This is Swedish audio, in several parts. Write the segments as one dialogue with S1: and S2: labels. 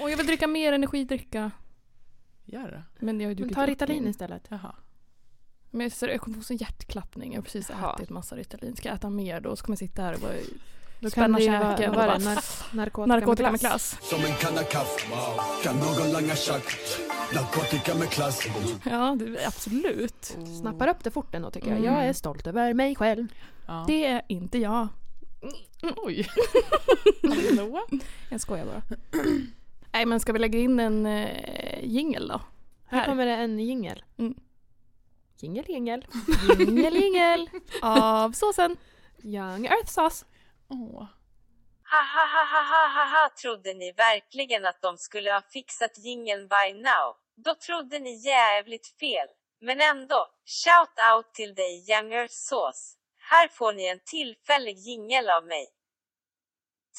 S1: Och jag vill dricka mer energidricka.
S2: Gör det.
S1: Men jag har ju
S3: Men
S1: druckit
S3: ta
S1: upp
S3: Ritalin
S1: min.
S3: istället.
S2: Jaha.
S1: Men jag, ser, jag kommer få sån hjärtklappning. Jag har precis
S3: Jaha.
S1: ätit massa Ritalin. Ska jag äta mer då? Så kommer jag sitta här och bara
S3: Då kan
S1: spänna
S3: det ju vara,
S1: käken.
S3: vad
S1: och bara,
S3: var det? Nar- narkotika,
S1: narkotika
S3: med
S1: med
S3: glass.
S1: klass.
S4: Som en kanna kaff Kan någon langa tjack Narkotika med klass
S1: Ja, det, absolut.
S3: Snappar upp det fort ändå tycker jag.
S1: Mm.
S3: Jag är stolt över mig själv.
S2: Ja.
S1: Det är inte jag.
S2: Oj. Hallå?
S1: Jag skojar bara. Nej, men ska vi lägga in en eh, jingel då?
S3: Här
S1: Här.
S3: kommer det en jingel.
S1: Mm.
S3: Jingel, jingel.
S1: Jingel, jingel av såsen.
S3: Young Earth Sauce.
S2: Åh.
S5: Ha ha ha ha ha ha ha trodde ni verkligen att de skulle ha fixat jingeln by now? Då trodde ni jävligt fel. Men ändå, shout out till dig Younger Sås. Här får ni en tillfällig jingel av mig.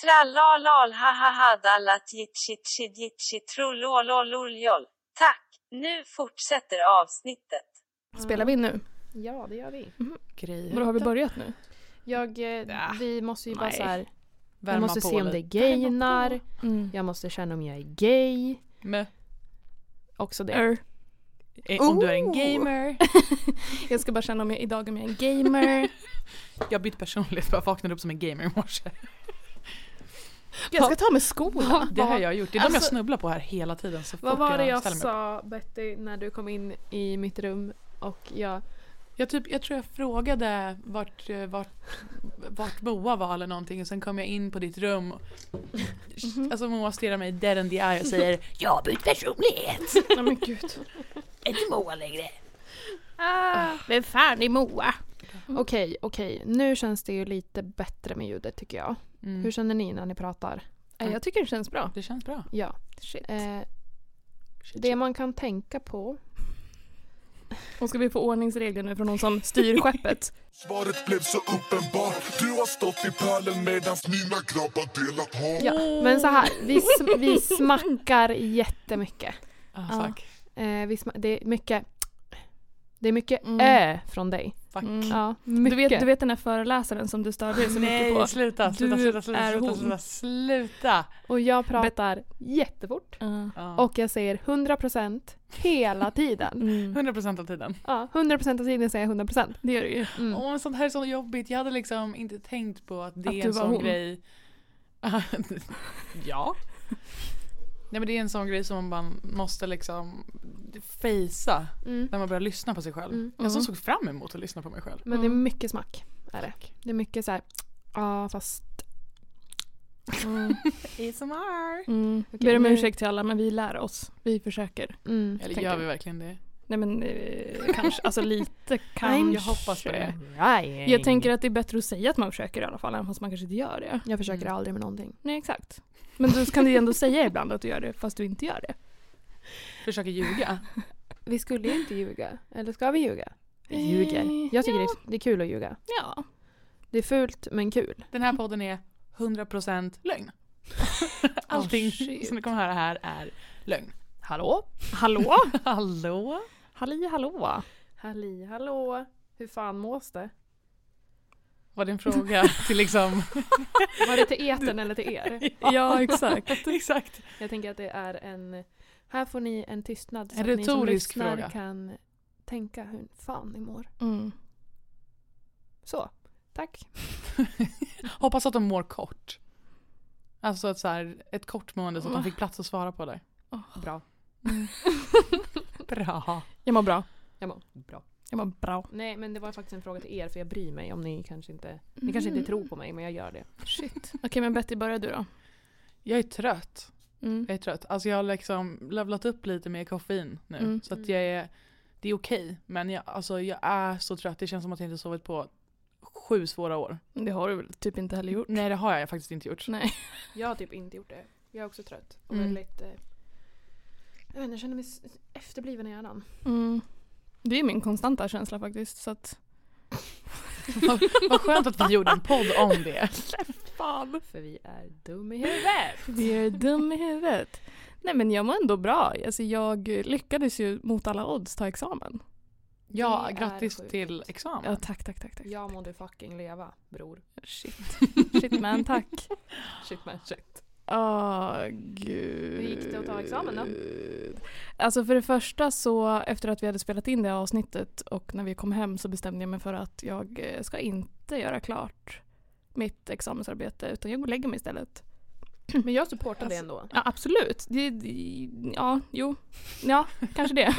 S5: Tralalal ha ha ha dallat jitchi jitchi trololololol. Tack! Nu fortsätter avsnittet.
S1: Spelar vi in nu?
S3: Ja, det gör vi.
S2: Grejer.
S1: Vadå, har vi börjat nu?
S3: Jag, eh,
S2: Ja.
S3: Vi måste ju bara
S1: Nej.
S3: så här. Jag
S2: Värma
S3: måste
S2: på
S3: se om
S2: lite.
S3: det gainar.
S1: Mm.
S3: Jag måste känna om jag är gay.
S2: Men,
S3: Också det.
S1: Er.
S2: eh, om du är en
S3: Oh!
S1: Ooh.
S2: gamer.
S1: Jag ska bara känna om jag idag om jag är en gamer.
S2: Jag har bytt personlighet, jag vaknade upp som en gamer i morse.
S1: Jag ska ta med skorna.
S2: Det har jag gjort. Det är de jag
S1: Alltså-
S2: snubblar på här hela tiden. Så
S3: Vad
S2: fort
S3: var det jag
S2: ställer mig
S3: sa Betty när du kom in i mitt rum och jag...
S2: Jag, typ, jag tror jag frågade vart, eh, vart, vart Moa var eller någonting och sen kom jag in på ditt rum.
S3: Mm-hmm.
S2: Alltså Moa stirrar mig dead in the eye och säger Jag har bytt personlighet!
S1: Nej men gud.
S2: Är inte Moa längre?
S1: Ah. Vem fan är Moa?
S3: Okej, okej. Nu känns det ju lite bättre med ljudet tycker jag.
S2: Mm.
S3: Hur känner ni när ni pratar?
S1: Nej, Jag tycker det känns bra.
S2: Det känns bra.
S3: Ja.
S1: Shit.
S3: Eh, det man kan tänka på...
S1: Och ska vi få ordningsregler nu från någon som styr skeppet?
S4: Svaret blev så uppenbart Du har stått i pölen medans mina grabbar delat hav
S3: Ja. Men så här, vi, sm- vi smackar jättemycket.
S2: Ah,
S1: Ja.
S2: fuck.
S3: Eh, vi sma- det är mycket... Det är mycket
S1: Mm.
S3: ö från dig.
S2: fuck.
S1: Mm.
S3: Ja,
S1: Du
S3: mycket.
S1: vet, du vet den där föreläsaren som du störde dig
S2: Mm.
S1: så mycket på?
S2: Nej, sluta, sluta,
S1: Du
S2: sluta, sluta,
S1: är
S2: sluta,
S1: hon.
S2: sluta, sluta.
S3: Och jag pratar jättefort.
S1: Ja.
S2: Ja.
S3: Och jag säger 100% hela tiden.
S1: Mm.
S2: 100% av tiden.
S3: Ja, 100% av tiden säger jag 100%.
S1: Det gör det ju.
S3: Mm.
S2: Åh, men sånt här är så jobbigt. Jag hade liksom inte tänkt på att det
S1: Att
S2: är
S1: du
S2: en
S1: var
S2: sån
S1: hon.
S2: grej. ja. Nej men det är en sån grej som man måste liksom fejsa
S3: Mm.
S2: när man börjar lyssna på sig själv.
S3: Mm.
S2: Jag som
S1: Mhm.
S2: såg fram emot att lyssna på mig själv.
S3: Men det är
S1: Mm.
S3: mycket smack. Är det. det är mycket så här... Ja, fast...
S1: Mm.
S2: ASMR.
S1: Mm.
S3: Okej,
S1: Ber om
S3: nu-
S1: ursäkt till alla men vi lär oss. Vi försöker.
S3: Mm,
S2: Eller
S3: tänker
S2: gör
S3: jag.
S2: vi verkligen det?
S1: Nej men eh, kanske, alltså lite
S3: I'm
S1: kan
S2: Jag hoppas på det.
S3: Right.
S1: Jag tänker att det är bättre att säga att man försöker i alla fall, även fast man kanske inte gör det.
S3: Jag försöker
S2: Mm.
S3: aldrig med någonting.
S1: Nej, exakt. Men du kan du ju ändå säga ibland att du gör det, fast du inte gör det.
S2: Försöker ljuga.
S3: Vi skulle ju inte ljuga. Eller ska vi ljuga? Vi ljuger. Jag tycker det, är, det är kul att ljuga.
S1: Ja.
S3: Det är fult men kul.
S2: Den här podden är 100% lögn. Allting
S1: Oh, shit.
S2: som du kommer höra här är lögn.
S1: Hallå? Hallå?
S2: Hallå?
S1: Halli hallå.
S3: Halli hallå. Hur fan mås det?
S2: Var det en fråga till liksom...
S3: Var det till etern eller till er?
S1: Ja, exakt.
S2: Exakt.
S3: Jag tänker att det är en... Här får ni en tystnad så
S2: En
S3: att ni som
S2: retorisk
S3: lyssnar
S2: fråga.
S3: kan tänka hur fan ni mår.
S1: Mm.
S3: Så. Tack.
S2: Hoppas att de mår kort. Alltså ett, så här, ett kort mående så att de fick plats att svara på det.
S3: Bra.
S1: Mm.
S2: Bra.
S1: Jag mår bra.
S3: Jag mår bra.
S1: Jag mår bra.
S3: Nej men det var faktiskt en fråga till er för jag bryr mig om ni kanske inte... Ni kanske inte tror på mig men jag gör det.
S1: Mm. Shit. Okej, men Betty, börja du då.
S2: Jag är trött.
S1: Mm.
S2: Jag är trött. Alltså jag har liksom levlat upp lite med koffein nu.
S1: Mm.
S2: Så att jag är, det är okej. Men jag, alltså jag är så trött. Det känns som att jag inte sovit på sju svåra år.
S1: Det har du väl typ inte heller gjort?
S2: Nej det har jag faktiskt inte gjort.
S1: Nej.
S3: Jag har typ inte gjort det. Jag är också trött. Och
S2: Mm.
S3: väldigt... Eh, jag vet inte, jag känner mig s- efterbliven i hjärnan.
S1: Mm. Det är min konstanta känsla faktiskt. Så att...
S2: Vad- Vad skönt att vi gjorde en podd om det.
S1: Fan.
S3: För vi är dum i huvudet!
S1: Vi är dum i huvudet. Nej, men jag mår ändå bra. Alltså, jag lyckades ju mot alla odds ta examen.
S2: Ja,
S3: Det är
S2: grattis
S3: sjukt.
S2: till
S1: Ja,
S2: examen.
S1: tack, tack, tack. tack.
S3: Ja må du fucking leva bror.
S1: Shit. Shit man, tack.
S3: Shit man shit.
S1: Åh, gud.
S3: Hur gick det att ta examen då?
S1: Alltså för det första så efter att vi hade spelat in det avsnittet och när vi kom hem så bestämde jag mig för att jag eh, ska inte göra klart mitt examensarbete utan jag går och lägger mig istället.
S3: Men jag supportar det ändå.
S1: Ja absolut. Det, det, ja, jo. Ja, kanske det.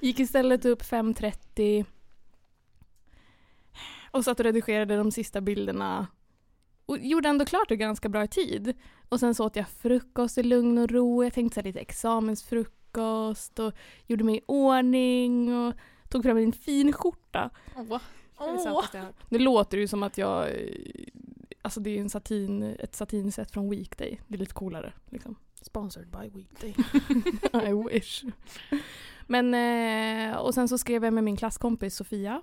S1: Gick istället upp 5.30 och satt och redigerade de sista bilderna och gjorde ändå klart det ganska bra i tid. Och sen så åt jag frukost i lugn och ro. Jag tänkte så här lite examensfrukost och gjorde mig i ordning och tog fram en fin skjorta.
S2: Åh.
S1: Nu låter det ju som att jag... eh, Alltså det är en satin, ett satinset från Weekday. Det är lite coolare. Liksom.
S3: Sponsored by Weekday.
S1: I wish. Men, eh, och sen så skrev jag med min klasskompis Sofia.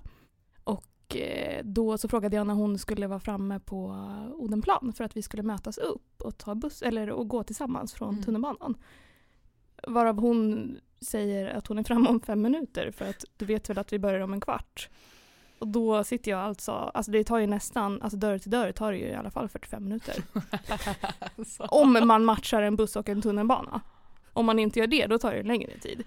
S1: Och eh, då så frågade jag när hon skulle vara framme på Odenplan för att vi skulle mötas upp och, ta buss, eller, och gå tillsammans från
S2: Mm.
S1: tunnelbanan. Varav hon säger att hon är framme om fem minuter för att du vet väl att vi börjar om en kvart. Och då sitter jag alltså, alltså det tar ju nästan, alltså dörr till dörr tar det ju i alla fall 45 minuter.
S2: Alltså.
S1: Om man matchar en buss och en tunnelbana. Om man inte gör det, då tar det längre tid.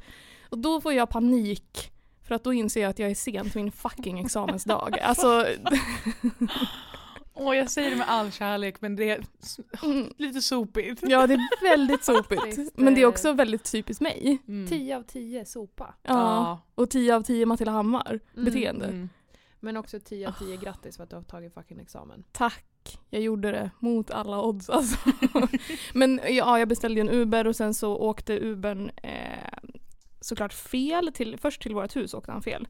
S1: Och då får jag panik. För att då inser jag att jag är sen till min fucking examensdag. Alltså,
S2: Åh, jag säger det med all kärlek men det är s-
S1: mm,
S2: lite sopigt.
S1: ja det är väldigt sopigt.
S3: Faktiskt,
S1: Men det är
S3: eh,
S1: också väldigt typiskt mig.
S2: Mm.
S3: 10 av 10 sopa.
S1: Ja. Och 10 av 10 Matilda Hammar
S3: Mm.
S1: beteende.
S2: Mm.
S3: Men också 10 av 10 grattis för att du har tagit fucking examen.
S1: Tack, jag gjorde det mot alla odds alltså. Men ja, jag beställde ju en Uber och sen så åkte Ubern eh, såklart fel. Till, först till vårt hus åkte han fel.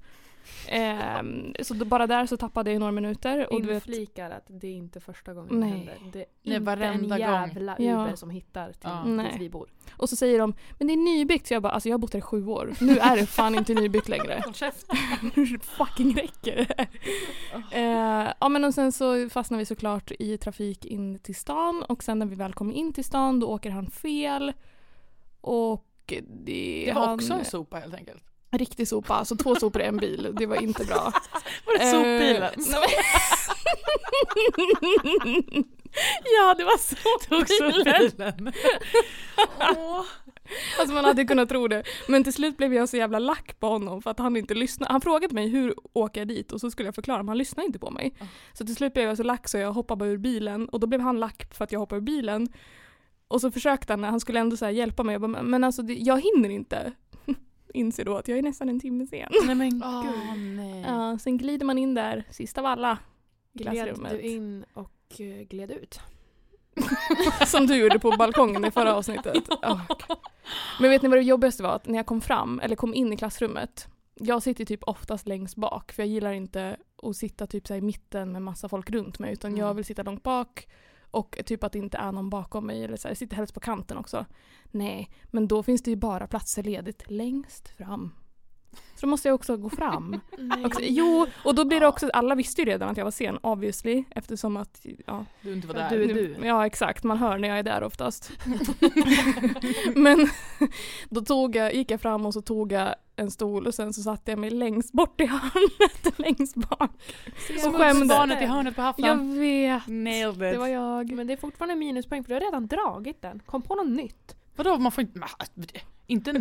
S1: Eh, så då, bara där så tappade jag några minuter. Och du vet,
S3: Inflikar att det är inte första gången
S1: Nej.
S3: det händer. Det är
S2: Nej,
S3: inte
S2: varenda
S3: en
S2: gång.
S3: jävla
S1: Ja.
S3: Uber som hittar till
S2: Ja.
S1: Nej.
S3: dit vi bor.
S1: och så säger de, men det är nybyggt. Så jag bara, alltså jag har bott här i sju år. Nu är det fan inte nybyggt längre. Nu fucking räcker det. Eh, ja men och sen så fastnar vi såklart i trafik in till stan och sen när vi väl kommer in till stan då åker han fel. Och det,
S2: Det var
S1: han,
S2: också en sopa helt enkelt.
S1: Riktig sopa, alltså två sopor i en bil. Det var inte bra.
S2: Var det sopbilen?
S1: Eh, nej, men- ja det var
S2: Tog
S1: sopbilen.
S2: sopbilen. Åh.
S1: Alltså man hade kunnat tro det. Men till slut blev jag så jävla lack på honom för att han inte lyssnade. Han frågade mig hur åker jag dit och så skulle jag förklara men han lyssnade inte på mig.
S2: Ah.
S1: Så till slut blev jag så lack så jag hoppade bara ur bilen och då blev han lack för att jag hoppade ur bilen. Och så försökte han, han skulle ändå så här hjälpa mig. Jag bara, men alltså det- jag hinner inte. Inser då att jag är nästan en timme sen.
S2: Nej men
S3: Åh,
S2: nej.
S1: Ja, sen glider man in där, sist av alla.
S3: Gled
S1: Klassrummet.
S3: du in och eh, gled ut?
S1: Som du gjorde på balkongen i förra avsnittet. Åh, gud. Men vet ni vad det jobbigaste var? Att när jag kom fram, eller kom in i klassrummet. Jag sitter typ oftast längst bak för jag gillar inte att sitta typ så här i mitten med massa folk runt mig utan jag
S2: Mm.
S1: vill sitta långt bak och typ att det inte är någon bakom mig eller så här, jag sitter helst på kanten också. Nej, men då finns det ju bara platser ledigt längst fram. Så då måste jag också gå fram.
S3: Alltså,
S1: Också, jo, och då blir det också, alla visste ju redan att jag var sen obviously eftersom att, ja.
S2: Du inte var
S3: Ja,
S2: där.
S3: du är-
S1: Ja exakt, man hör när jag är där oftast. Men då tog jag, gick jag fram och så tog jag en stol och sen så satte jag mig längst bort i hörnet, längst bak.
S2: Som
S1: Och skämde.
S2: barnet i hörnet på
S1: Jag
S2: hafflan.
S1: vet,
S2: Nailed it.
S1: det var jag.
S3: Men det är fortfarande minuspoäng för du har redan dragit den. Kom på något nytt.
S2: Vadå man får inte... Ma- Inte nu!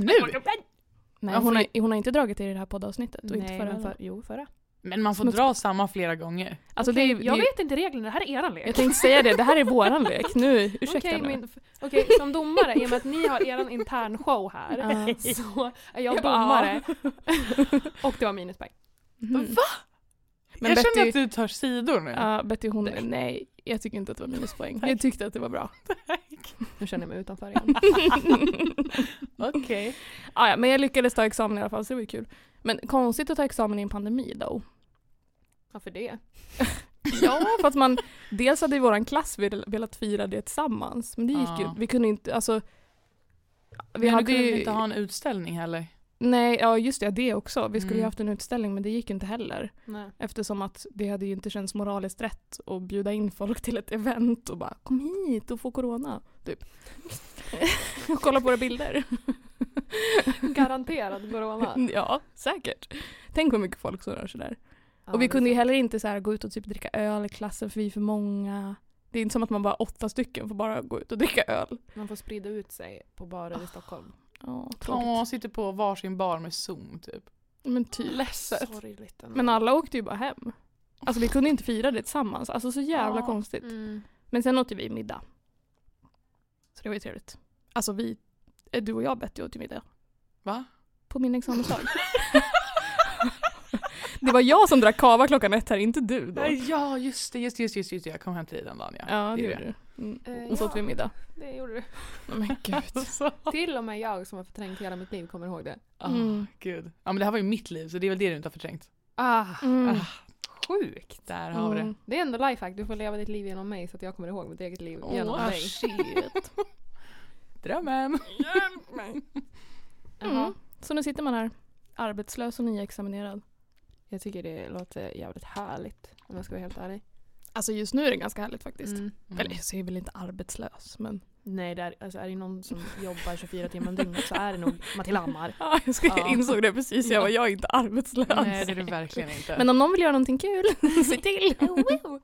S1: Nej,
S2: Man
S1: hon,
S2: får
S1: har, hon har inte dragit det i det här poddavsnittet och inte
S3: Nej,
S1: förra.
S3: men för, jo, förra.
S2: Men man får
S1: Smuts-
S2: dra samma flera gånger.
S1: Alltså det,
S3: Okej,
S1: är-
S3: jag
S1: det, är-
S3: vet inte reglerna, det här är eran lek.
S1: jag tänkte säga det, det här är våran lek. Nu, ursäkta
S3: Okej,
S1: nu.
S3: men- f- okej, som domare, i och med att ni har er intern show här,
S1: Ja.
S3: så är jag
S1: Jag bara,
S3: domare. och det var minuspoäng.
S1: Mhm. Men
S2: jag
S1: Betty-
S2: känner att du tar sidor nu.
S1: Ja, Betty hon, nej jag tycker inte att det var minuspoäng. Jag tyckte att det var bra.
S3: Nu känner jag mig utanför igen.
S2: Okej.
S1: Ah, ja, men jag lyckades ta examen i alla fall så det var ju kul. Men konstigt att ta examen i en pandemi då.
S3: Varför det?
S1: Ja, för att man, dels hade ju våran klass vel- velat fira det tillsammans, men det gick ju
S2: Ja.
S1: Vi kunde inte, alltså. Vi
S2: Men du
S1: hade
S2: kunde
S1: ju,
S2: inte ha en utställning heller.
S1: Nej, ja just det, det också. Vi skulle ju
S2: Mm.
S1: haft en utställning men det gick ju inte heller.
S3: Nej.
S1: Eftersom att det hade ju inte känts moraliskt rätt att bjuda in folk till ett event och bara kom hit och få corona, typ. och kolla på våra bilder.
S3: Garanterad corona.
S1: ja, säkert. Tänk hur mycket folk som rör sig där.
S3: Ja,
S1: och vi
S3: det
S1: kunde
S3: är
S1: ju heller inte så här gå ut och typ dricka öl i klassen för vi är för många. Det är inte som att man bara åtta stycken får bara gå ut och dricka öl.
S3: Man får sprida ut sig på barer
S1: Ah,
S3: i Stockholm.
S1: Ja, tråkigt.
S2: De sitter på varsin bar med Zoom typ.
S1: Men typ.
S2: Ledset.
S3: Sorgligt ändå.
S1: Men alla åkte ju bara hem. Alltså vi kunde inte fira det tillsammans. Alltså så jävla
S2: Ja.
S1: konstigt.
S3: Mm.
S1: Men sen åt ju vi middag. Så det var ju trevligt. Alltså vi, eh, du och jag Betty åt ju middag.
S2: Va?
S1: På min examensdag. det var jag som drack kava klockan ett här, inte du då.
S2: Nej, ja just det, just det, just det, just det. Jag kom hem till dig den dagen ja.
S1: Ja, det
S2: är
S1: gjorde du. Mm.
S3: Eh,
S1: Och så
S3: ja.
S1: åt vi middag.
S3: Det gjorde du.
S1: Men gud.
S2: Alltså.
S3: Till och med jag som har förträngt hela mitt liv kommer ihåg det.
S2: Ah,
S1: Mm.
S2: gud. Ja men det här var ju mitt liv så det är väl det du inte har förträngt.
S3: Ah,
S1: Mm.
S2: Ah, sjukt. Där har vi det.
S1: Mm.
S3: det är ändå lifehack. Du får leva ditt liv genom mig så att jag kommer ihåg mitt eget liv
S2: Åh,
S3: genom
S1: Ah,
S3: mig.
S1: shit.
S2: Drömmen.
S1: Mm.
S3: Jaha.
S1: Så nu sitter man här, arbetslös och nyexaminerad.
S3: Jag tycker det låter jävligt härligt om jag ska vara helt ärlig.
S1: Alltså just nu är det ganska härligt faktiskt.
S3: Mm.
S1: Eller så är jag väl inte arbetslös men...
S3: Nej, där, alltså, är det någon som jobbar 24 timmar om dygnet så är det nog Matilda Hammar.
S1: Ja, jag, ska, jag
S3: Ja.
S1: insåg det precis, jag var jag är inte arbetslös.
S2: Nej det är du verkligen inte.
S1: Men om någon vill göra någonting kul, se till!
S3: Oh, Wow.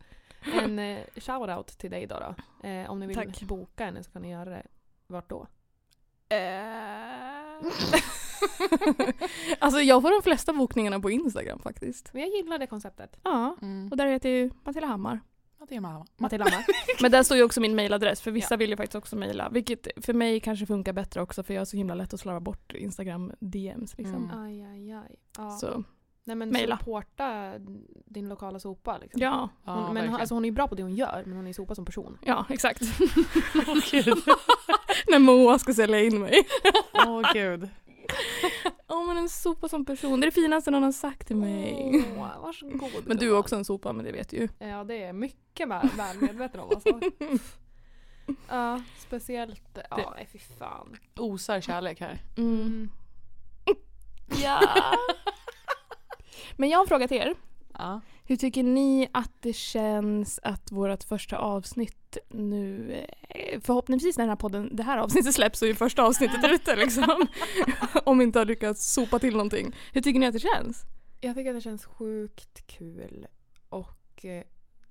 S3: en eh, shoutout till dig då. då. Eh, om ni vill
S1: Tack.
S3: boka henne så kan ni göra det. Vart då? Eh.
S1: alltså jag får de flesta bokningarna på Instagram faktiskt.
S3: Men jag gillar det konceptet.
S1: Ja,
S2: Mm.
S1: och där heter jag ju Matilda Hammar.
S2: Ja, det är mamma.
S3: Matilda Hammar.
S1: Men där står ju också min mailadress för vissa vill ju faktiskt också mejla. Vilket för mig kanske funkar bättre också för jag är så himla lätt att slarva bort Instagram DMs liksom.
S2: Mm.
S3: aj, aj, aj. Ja.
S1: Så
S3: Nej men
S1: Maila.
S3: supporta din lokala sopa liksom.
S1: ja,
S2: Ja,
S3: Hon, men
S2: verkligen.
S3: hon, alltså, hon är ju bra på det hon gör men hon är sopa som person.
S1: ja exakt.
S2: Åh gud.
S1: När Moa ska sälja in mig.
S2: Åh gud.
S1: Åh men en sopa som person, det är det finaste någon har sagt till mig.
S3: Åh, varsågod.
S1: Men du är
S3: gumman.
S1: också en sopa men det vet du ju.
S3: Ja det är mycket väl, väl medveten om alltså. Ja, speciellt, ja nej, fy fan.
S2: Osar kärlek här.
S3: Mm.
S1: Ja. Men jag har frågat er.
S2: Ja.
S1: Hur tycker ni att det känns att vårt första avsnitt nu, eh, förhoppningsvis när den här podden, det här avsnittet släpps så är ju första avsnittet ute liksom. Om vi inte har lyckats sopa till någonting. Hur tycker ni att det känns?
S3: Jag tycker att det känns sjukt kul och eh,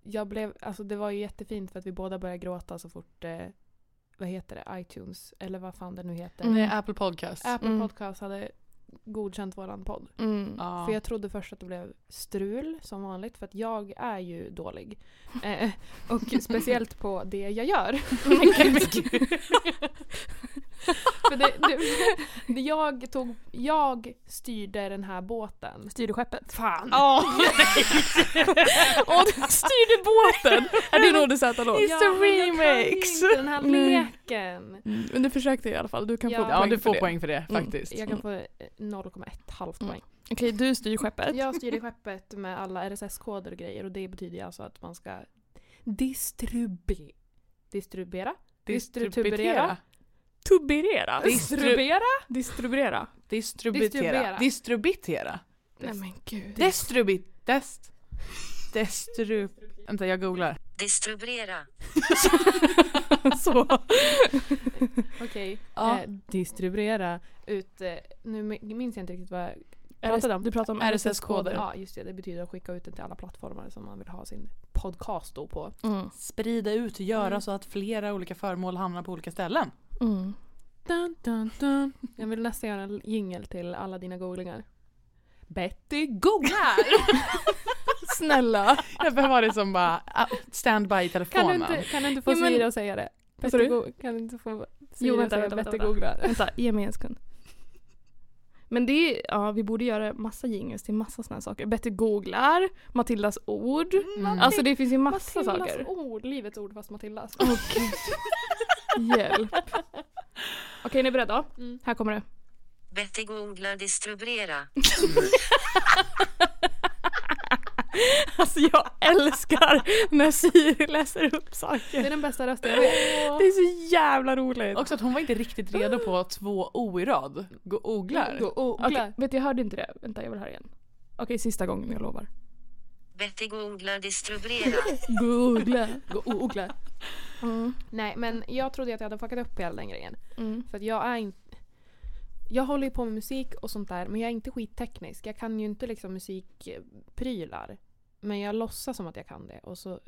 S3: jag blev, alltså det var ju jättefint för att vi båda började gråta så fort, eh, vad heter det, iTunes eller vad fan det nu heter.
S1: Mm.
S2: Det är Apple Podcast.
S3: Apple
S1: Mm.
S3: Podcast hade godkänt våran podd.
S2: Ja.
S3: För jag trodde först att det blev strul som vanligt för att jag är ju dålig. Eh, och speciellt på det jag gör. för det, det, jag, tog, jag styrde den här båten.
S1: Styrde skeppet.
S3: Fan!
S2: Ja.
S1: Åh, du styrde båten! Är det något Z-låt?
S3: Ja, men jag kan ju inte den här
S1: Nej.
S3: leken.
S1: Mm, Men du försökte i alla fall, du kan
S3: Ja.
S1: få
S2: Ja,
S1: poäng
S2: du får
S1: för
S2: poäng för det
S1: Mm.
S2: faktiskt.
S3: Jag kan få eh, 0,1 halvt
S1: Mm.
S3: poäng.
S1: det. Okej, du styr skeppet.
S3: Jag styrde skeppet med alla RSS-koder och grejer och det betyder ju alltså att man ska distribuera. Distribuera? Distribuera.
S1: Tuberera.
S3: Distribuera?
S1: Distribuera.
S2: Distributera.
S3: Distribuera.
S2: Distributera.
S1: Nej men gud.
S2: Destrubit. Dest. Destru... Vänta, jag googlar.
S5: Distribuera.
S1: så.
S3: Okej.
S2: Ja.
S3: Eh, distribuera ut... Eh, nu mi- minns jag inte riktigt vad jag pratade om.
S1: Du pratar om
S2: RSS-koder.
S1: RSS-koder.
S3: Ja, just det. Det betyder att skicka ut den till alla plattformar som man vill ha sin podcast då på.
S1: Mm.
S2: Sprida ut och göra
S3: Mm.
S2: så att flera olika föremål hamnar på olika ställen.
S1: Mm.
S3: Dun, dun, dun. Jag vill nästan göra en jingel till alla dina googlingar. Betty googlar!
S1: Snälla.
S2: Jag behöver ha det som bara ah, standby i
S3: Kan du
S2: telefonen.
S3: inte, kan du inte få
S1: Jo, men-
S3: Siri att säga det?
S1: Vad sa du?
S3: Go- kan du inte få Siri
S1: Jo,
S3: att
S1: vänta,
S3: säga
S1: vänta,
S3: Betty
S1: vänta.
S3: googlar?
S1: Vänta, ge mig en sekund. Men det är, ja vi borde göra massa jingles till massa såna här saker. Betty googlar, Matildas ord.
S2: Mm.
S1: Alltså det finns ju massa
S3: Matildas
S1: saker.
S3: ord, livets ord fast Matildas.
S1: Åh gud. Hjälp. Okej, är ni beredda?
S3: Mm.
S1: Här kommer det.
S5: Betty googlar distribuera.
S1: Alltså jag älskar när Siri läser upp
S3: Det är
S1: saker.
S3: den bästa rösten jag vet.
S1: Det är så jävla roligt.
S2: Också att hon var inte riktigt redo på två O i rad. Gå googlar.
S3: Go- googlar.
S1: Okej, vet du, jag hörde inte det. Vänta, jag vill höra igen. Okej, sista gången, jag lovar.
S5: Betty googlar distribuera.
S1: Googla.
S3: Googla.
S1: Mm.
S3: Nej men jag trodde att jag hade fuckat upp hela den grejen.
S1: Mm.
S3: För att jag är inte... Jag håller ju på med musik och sånt där men jag är inte skitteknisk. Jag kan ju inte liksom musikprylar. Men jag låtsas som att jag kan det och så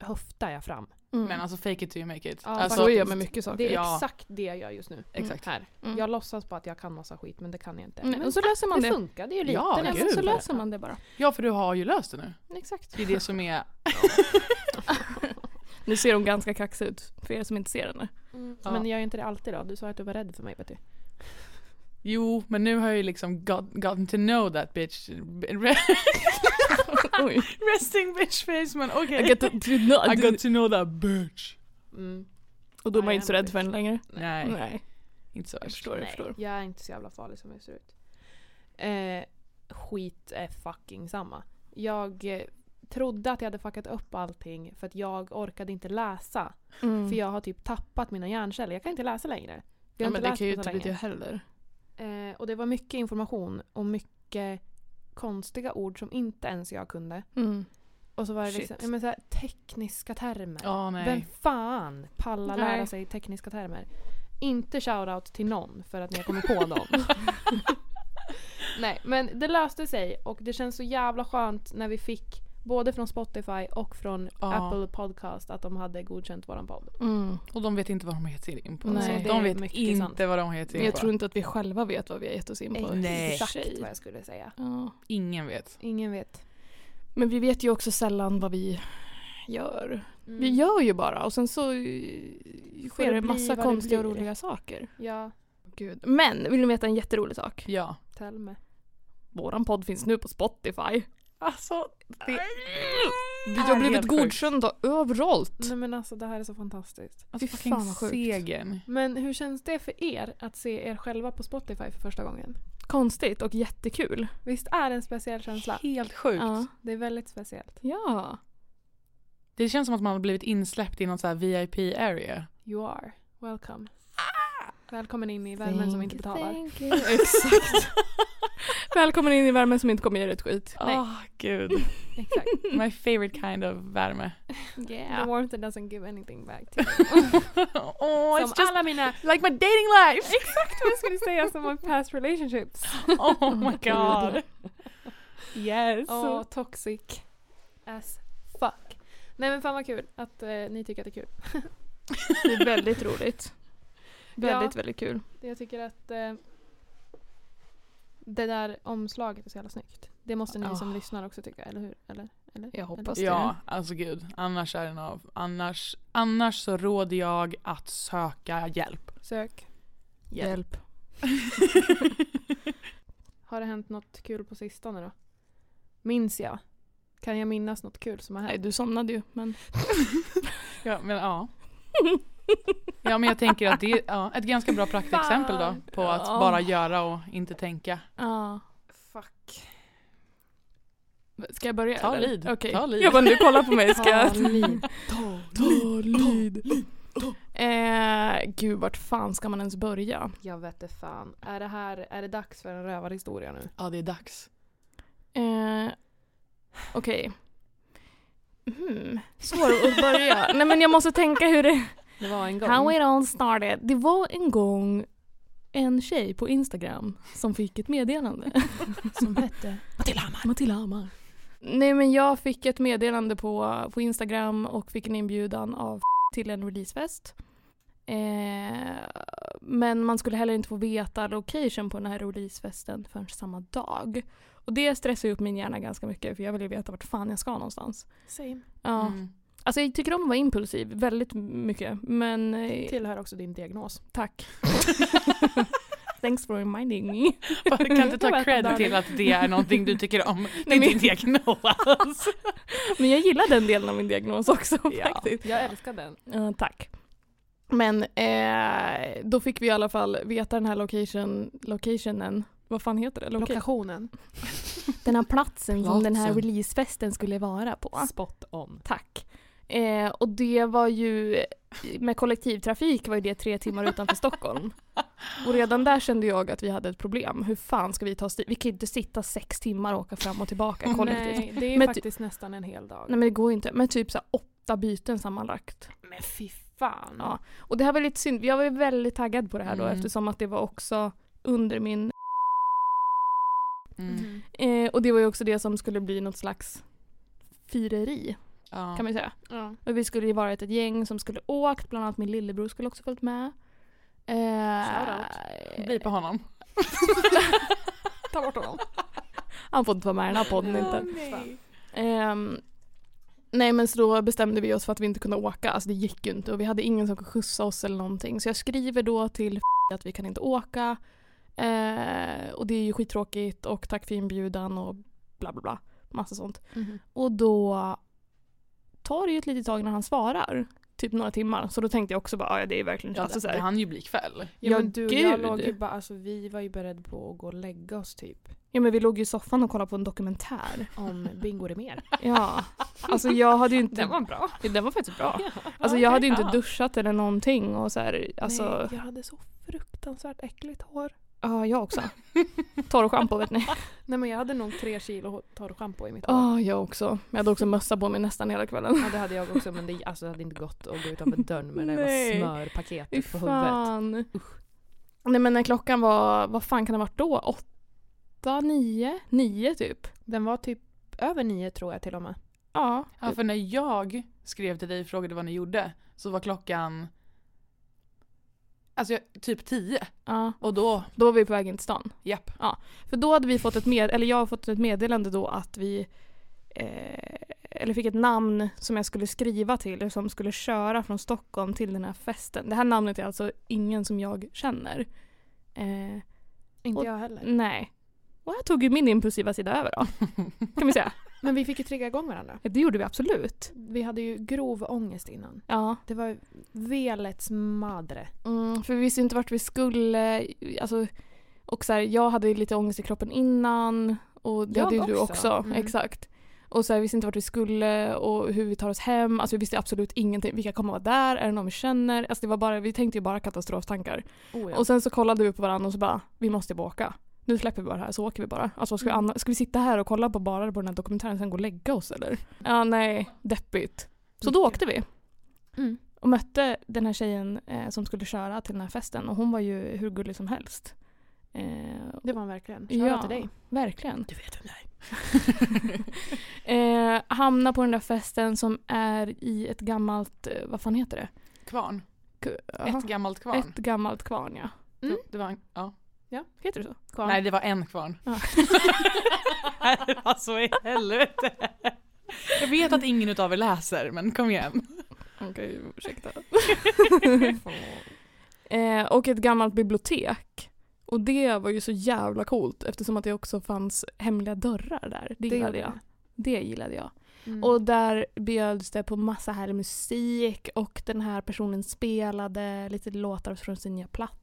S3: höftar jag fram.
S1: Mm.
S2: Men alltså fake it till you make it.
S3: Ja,
S2: alltså,
S1: så är jag med mycket saker.
S3: Det är
S2: Ja.
S3: exakt det jag gör just nu.
S2: Exakt.
S3: Här.
S1: Mm.
S3: Jag låtsas på att jag kan massa skit men det kan jag inte.
S1: Nej,
S3: men
S1: Mm, och så löser man
S3: det
S1: det.
S3: funkar, det är ju lite.
S2: Ja,
S1: Nej,
S2: gud.
S1: men så löser man det bara.
S2: Ja för du har ju löst det nu.
S3: Exakt.
S2: Det är det som är...
S1: Nu ser de ganska kaxiga ut, för er som inte ser henne.
S2: Mm. Ja.
S3: Men jag är inte det alltid då. Du sa att du var rädd för mig vet du.
S2: Jo men nu har jag ju liksom got, gotten to know that bitch.
S1: Oj.
S2: Resting bitch face men okej.
S1: I get to, to not.
S2: I got to know that bitch.
S3: Mm.
S1: Och då är man
S3: I
S1: inte så
S3: am a
S1: rädd för henne längre.
S2: Nej,
S1: Nej,
S2: inte så
S1: jag
S2: värst.
S1: förstår, jag förstår.
S3: Jag är inte så jävla farlig som jag ser ut. Eh, skit är fucking samma. Jag eh, trodde att jag hade fuckat upp allting för att jag orkade inte läsa.
S1: Mm.
S3: För jag har typ tappat mina hjärnceller. Jag kan inte läsa längre.
S1: ja,
S3: Jag har
S1: men
S3: inte
S1: det
S3: läst
S1: kan ju typ
S3: på
S1: inte
S3: så
S1: bli det
S3: länge.
S1: heller.
S3: Eh, och det var mycket information och mycket konstiga ord som inte ens jag kunde.
S1: Mm.
S3: Och så var det
S1: Shit.
S3: liksom, ja, men så här, tekniska termer.
S2: Ja
S3: Vem
S2: nej.
S3: fan pallar lära
S1: Nej.
S3: sig tekniska termer? Inte shoutout till någon för att ni har kommit på dem. Nej, men det löste sig och det känns så jävla skönt när vi fick både från Spotify och från
S2: Ja.
S3: Apple Podcast att de hade godkänt våran podd.
S1: Mm.
S2: Och de vet inte vad de har gett sig in på.
S1: Nej,
S2: alltså.
S1: det
S2: de
S3: är
S2: vet
S3: mycket
S2: inte
S3: sant.
S2: vad de har gett sig
S1: Men
S2: in
S1: jag
S2: på.
S1: tror inte att vi själva vet vad vi har gett oss in på.
S2: Nej.
S3: Exakt vad jag skulle säga.
S1: Ja.
S2: Ingen vet.
S3: Ingen vet.
S1: Men vi vet ju också sällan vad vi gör. Vi
S3: Mm.
S1: gör ju bara och sen så eh,
S3: Får
S1: sker
S3: det
S1: det
S3: bli
S1: massa
S3: vad det
S1: konstiga och
S3: blir.
S1: roliga saker.
S3: Ja,
S1: Gud. Men vill ni veta en jätterolig sak?
S2: Ja.
S3: tell me.
S1: Våran podd finns nu på Spotify.
S2: Alltså, det
S1: Vi har blivit
S2: helt sjukt.
S1: godkända överallt.
S3: Nej men alltså det här är så fantastiskt.
S2: Alltså
S1: Fy
S2: fucking
S1: fan, vad sjukt.
S2: segern.
S3: Men hur känns det för er att se er själva på Spotify för första gången?
S1: Konstigt och jättekul.
S3: Visst är det en speciell känsla?
S2: Helt sjukt.
S1: Ja.
S3: Det är väldigt speciellt.
S1: ja.
S2: Det känns som att man har blivit insläppt i någon så här VIP area.
S3: You are welcome. Välkommen in i värmen som inte betalar.
S1: Thank you. Exakt. Välkommen in i värmen som inte kommer ge dig ett skit.
S2: Åh Ah, gud.
S3: Exakt.
S2: My favorite kind of värme.
S3: The warmth that doesn't give anything back. To
S2: oh,
S3: you.
S2: it's
S3: Som
S2: just
S3: alla mina,
S2: like my dating life!
S3: exakt vad jag skulle säga som my past relationships.
S2: oh my god. Yes.
S3: Åh, toxic as fuck. Nej men fan vad kul att eh, ni tycker att det är kul.
S1: Det är väldigt roligt. Väldigt,
S3: Ja.
S1: väldigt kul.
S3: Jag tycker att eh, det där omslaget är så jävla snyggt. Det måste ni som
S1: Ah.
S3: lyssnar också tycka, eller hur? Eller? eller?
S1: Jag hoppas det.
S2: Ja, alltså gud. Annars är den av. Annars, annars så råder jag att söka hjälp.
S3: Sök.
S1: Hjälp.
S3: Har det hänt något kul på sistone då? Minns jag? Kan jag minnas något kul som har
S1: Nej,
S3: hänt?
S1: du somnade ju. Men...
S2: Ja, men ja. Ja, men jag tänker att det är ja, ett ganska bra praktexempel då
S3: Fan.
S2: på att
S1: Ja.
S2: bara göra och inte tänka.
S1: Ja.
S3: Fuck.
S1: Ska jag börja?
S2: Ta
S1: eller?
S2: lid,
S1: Okej.
S2: ta lid.
S1: Jag bara, nu kolla på mig. Ska jag...
S3: lid.
S1: Ta lid. Eh, gud, vart fan ska man ens börja?
S3: Jag vet det fan. Är det här, är det dags för en rövarhistoria nu?
S2: Ja, det är dags.
S1: Eh, Okej. Hmm. Svår att börja. Nej men jag måste tänka hur det...
S3: Det var en gång.
S1: How it all started. Det var en gång en tjej på Instagram som fick ett meddelande.
S3: som hette.
S1: Matilda Hammar. Nej men jag fick ett meddelande på, på Instagram och fick en inbjudan av till en releasefest. Eh, men man skulle heller inte få veta location på den här releasefesten förrän samma dag. Och det stressar ju upp min hjärna ganska mycket för jag vill ju veta vart fan jag ska någonstans.
S3: Same.
S1: Ja.
S2: Mm.
S1: Alltså jag tycker om att vara impulsiv väldigt mycket men eh,
S3: Tillhör också din diagnos.
S1: tack. Thanks for reminding me.
S2: Bara, Kan inte ta
S1: Welcome,
S2: cred
S1: darling.
S2: till att det är någonting du tycker om. Det är
S1: Nej, men-
S2: din diagnos.
S1: Men jag gillar den delen av min diagnos också faktiskt.
S3: Jag älskar den.
S1: Eh, tack. Men eh, då fick vi i alla fall veta den här location, locationen. Vad fan heter det? Loca-
S3: Lokationen.
S1: den här platsen som den här
S2: Platsen.
S1: releasefesten skulle vara på.
S3: Spot on.
S1: Tack. Eh, och det var ju, med kollektivtrafik var ju det tre timmar utanför Stockholm. Och redan där kände jag att vi hade ett problem. Hur fan ska vi ta oss dit? Vi kan ju inte sitta sex timmar och åka fram och tillbaka kollektivt. Nej,
S3: Nej, det är
S1: Men ty-
S3: faktiskt nästan en hel dag.
S1: men det går ju inte. Men typ så här åtta byten sammanlagt.
S3: Men fy fan.
S1: Ja. Och det här var lite synd, jag var ju väldigt taggad på det här då
S2: Mm.
S1: eftersom att det var också under min...
S2: Mm.
S1: Eh, och det var ju också det som skulle bli något slags fireri.
S2: Ja.
S1: kan man ju säga.
S3: Ja.
S1: Och vi skulle ju varit ett gäng som skulle åkt, bland annat min lillebror skulle också följt med. Eh,
S2: Bli på honom.
S1: ta bort honom. Han får inte vara med i den här podden inte.
S2: nej.
S1: Ehm, nej men så då bestämde vi oss för att vi inte kunde åka, alltså det gick ju inte och vi hade ingen som kunde skjutsa oss eller någonting. Så jag skriver då till att vi kan inte åka eh, och det är ju skittråkigt och tack för inbjudan och bla bla bla. Massa sånt.
S3: Mhm.
S1: Och då tar det ju ett litet tag när han svarar. Typ några timmar. Så då tänkte jag också bara, "Ah, ja det är verkligen
S2: Ja,
S1: alltså,
S2: det,
S1: så
S2: det
S1: här.
S2: hann ju bli kväll.
S1: Ja,
S3: Ja, men du och jag
S1: gud.
S3: låg ju bara, alltså vi var ju beredda på att gå och lägga oss typ.
S1: Ja men vi låg ju i soffan och kollade på en dokumentär.
S3: Om Bingo är mer.
S1: Ja. Alltså jag hade ju inte...
S3: bra.
S1: Den var faktiskt bra. Alltså jag hade ju inte duschat eller någonting och så här, alltså...
S3: Nej, jag hade så fruktansvärt äckligt hår.
S1: Ja, jag också. Torrschampo vet ni.
S3: Nej men jag hade nog tre kilo torrschampo i mitt hår.
S1: Ja, jag också. Men jag hade också mössa på mig nästan hela kvällen.
S3: Ja det hade jag också men det, alltså, det hade inte gått att gå utanför dörren med det där
S1: Nej. Fy
S3: smörpaketet på huvudet.
S1: fan. Nej men när klockan var, vad fan kan det ha varit då? Åtta, nio? Nio typ.
S3: Den var typ över nio tror jag till och med.
S1: Ja.
S2: Ja, för när jag skrev till dig och frågade vad ni gjorde så var klockan alltså jag, typ tio.
S1: ja.
S2: Och då,
S1: Då var vi på väg in till stan.
S2: japp.
S1: För då hade vi fått ett med, eller jag har fått ett meddelande då att vi eh, eller fick ett namn som jag skulle skriva till eller som skulle köra från Stockholm till den här festen. Det här namnet är alltså ingen som jag känner. Eh,
S3: Inte
S1: Och-
S3: jag heller.
S1: Nej. Och här tog ju min impulsiva sida över då. Kan vi säga.
S3: Men vi fick ju trigga igång varandra.
S1: Det gjorde vi absolut.
S3: Vi hade ju grov ångest innan.
S1: Ja.
S3: Det var velets madre.
S1: Mm, för vi visste ju inte vart vi skulle. Alltså, och så här, jag hade ju lite ångest i kroppen innan. Och det
S3: Jag
S1: hade ju du
S3: också.
S1: också.
S2: Mm.
S1: Exakt. Och så här, vi visste inte vart vi skulle och hur vi tar oss hem. Alltså vi visste absolut ingenting. Vilka kommer vara där? Är det någon vi känner? Alltså det var bara, vi tänkte ju bara katastroftankar.
S3: Oh,
S1: Och sen så kollade vi på varandra och så bara, vi måste bara åka. Nu släpper vi bara det här så åker vi bara. Alltså vad ska, vi
S3: Mm.
S1: anna- ska vi sitta här och kolla på bara på den här dokumentären och sen gå och lägga oss eller? Ja nej, deppigt. Så då
S3: Mycket.
S1: åkte vi
S3: Mm.
S1: och mötte den här tjejen eh, som skulle köra till den här festen och hon var ju hur gullig som helst. Eh,
S3: Det var han verkligen. Shoutout
S1: Ja.
S3: till dig.
S1: verkligen.
S2: Du vet vem det är.
S1: Eh, hamna på den där festen som är i ett gammalt, eh, vad fan heter det?
S2: Kvarn.
S1: K-
S2: Ett gammalt kvarn.
S1: Ett gammalt kvarn ja.
S3: Mm.
S2: Det, det var en, ja.
S1: Heter det så?
S3: Kvarn.
S2: Nej, det var en kvarn.
S1: Ja.
S2: det var så i helvete. Jag vet att ingen utav er läser, men kom igen.
S1: Okej, ursäkta. eh, och ett gammalt bibliotek. Och det var ju så jävla coolt eftersom att det också fanns hemliga dörrar där. Det, gillade
S3: gjorde
S1: jag. Det gillade jag.
S3: det. Mm.
S1: Och där bjöds det på massa härlig musik och den här personen spelade lite låtar från sin nya platta.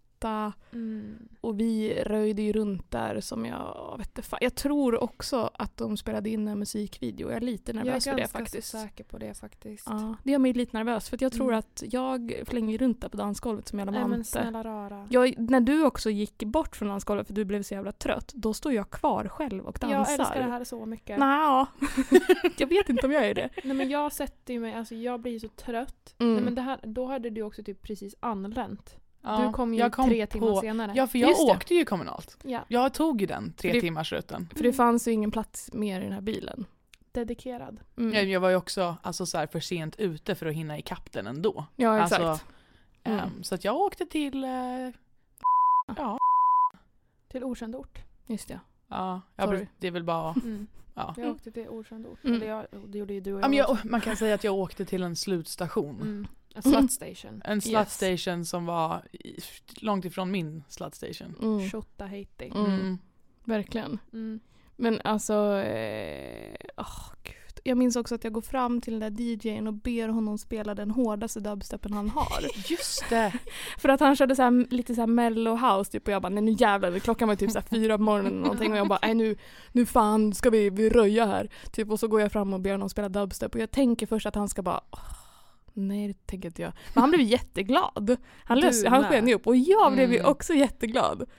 S3: Mm.
S1: Och vi röjde ju runt där som jag vet inte, fan. Jag tror också att de spelade in en musikvideo. Jag är lite
S3: Jag är
S1: nervös för det
S3: ganska
S1: faktiskt.
S3: säker på det faktiskt.
S1: Ja, det gör mig lite nervös för att jag tror
S3: Mm.
S1: att jag flänger runt där på dansgolvet som jävla
S3: Nej men
S1: vante.
S3: snälla rara.
S1: Jag, när du också gick bort från dansgolvet för du blev så jävla trött, då står jag kvar själv och dansar.
S3: jag älskar det här så mycket.
S1: Nja, jag vet inte om jag är det.
S3: Nej men jag sätter ju mig, alltså jag blir ju så trött.
S1: Mm.
S3: Nej men det här, då hade du också typ precis anlänt.
S2: Ja,
S3: du kom ju
S2: jag
S3: tre
S2: på-
S3: timmar senare.
S2: Ja, för jag
S1: Just det.
S2: åkte ju kommunalt.
S3: Ja,
S2: Jag tog ju den tre
S1: För det-
S2: timmars rutten.
S1: För det fanns ju ingen plats mer i den här bilen.
S3: dedikerad.
S1: Mm.
S2: Jag- Jag var ju också alltså, så här, för sent ute för att hinna ikapp den ändå.
S1: Ja, exakt.
S2: Alltså,
S1: Mm.
S2: ehm, så att jag åkte till... eh, ja,
S3: Till okänd ort.
S1: Just det.
S2: ja jag,
S1: Sorry.
S2: bruk- det är väl bara...
S3: Mm.
S2: Ja.
S3: Jag åkte till okänd ort.
S1: Mm.
S3: Eller jag, det gjorde ju du och
S2: Ja, men
S3: också.
S2: jag, man kan säga att jag åkte till en slutstation.
S3: Mm. A slut station.
S2: En
S1: Yes.
S2: slutstation som var i, långt ifrån min slutstation.
S1: Mm.
S3: Shotta Haiti.
S1: Mm. Verkligen.
S3: Mm.
S1: Men alltså, eh, åh, gud. Jag minns också att jag går fram till den där DJn och ber honom spela den hårdaste dubstepen han har.
S2: Just det!
S1: För att han körde så här, lite så här mellow house typ och jag bara nej nu jävlar, klockan var ju typ så här fyra på morgonen eller någonting och jag bara nej nu, nu fan ska vi, vi röja här. Typ och så går jag fram och ber honom spela dubstep och jag tänker först att han ska bara åh, nej det tänker inte jag. Men han blev jätteglad. Han,
S3: Du
S1: lös, han
S3: med.
S1: sken ju upp och jag blev ju
S2: Mm.
S1: också jätteglad.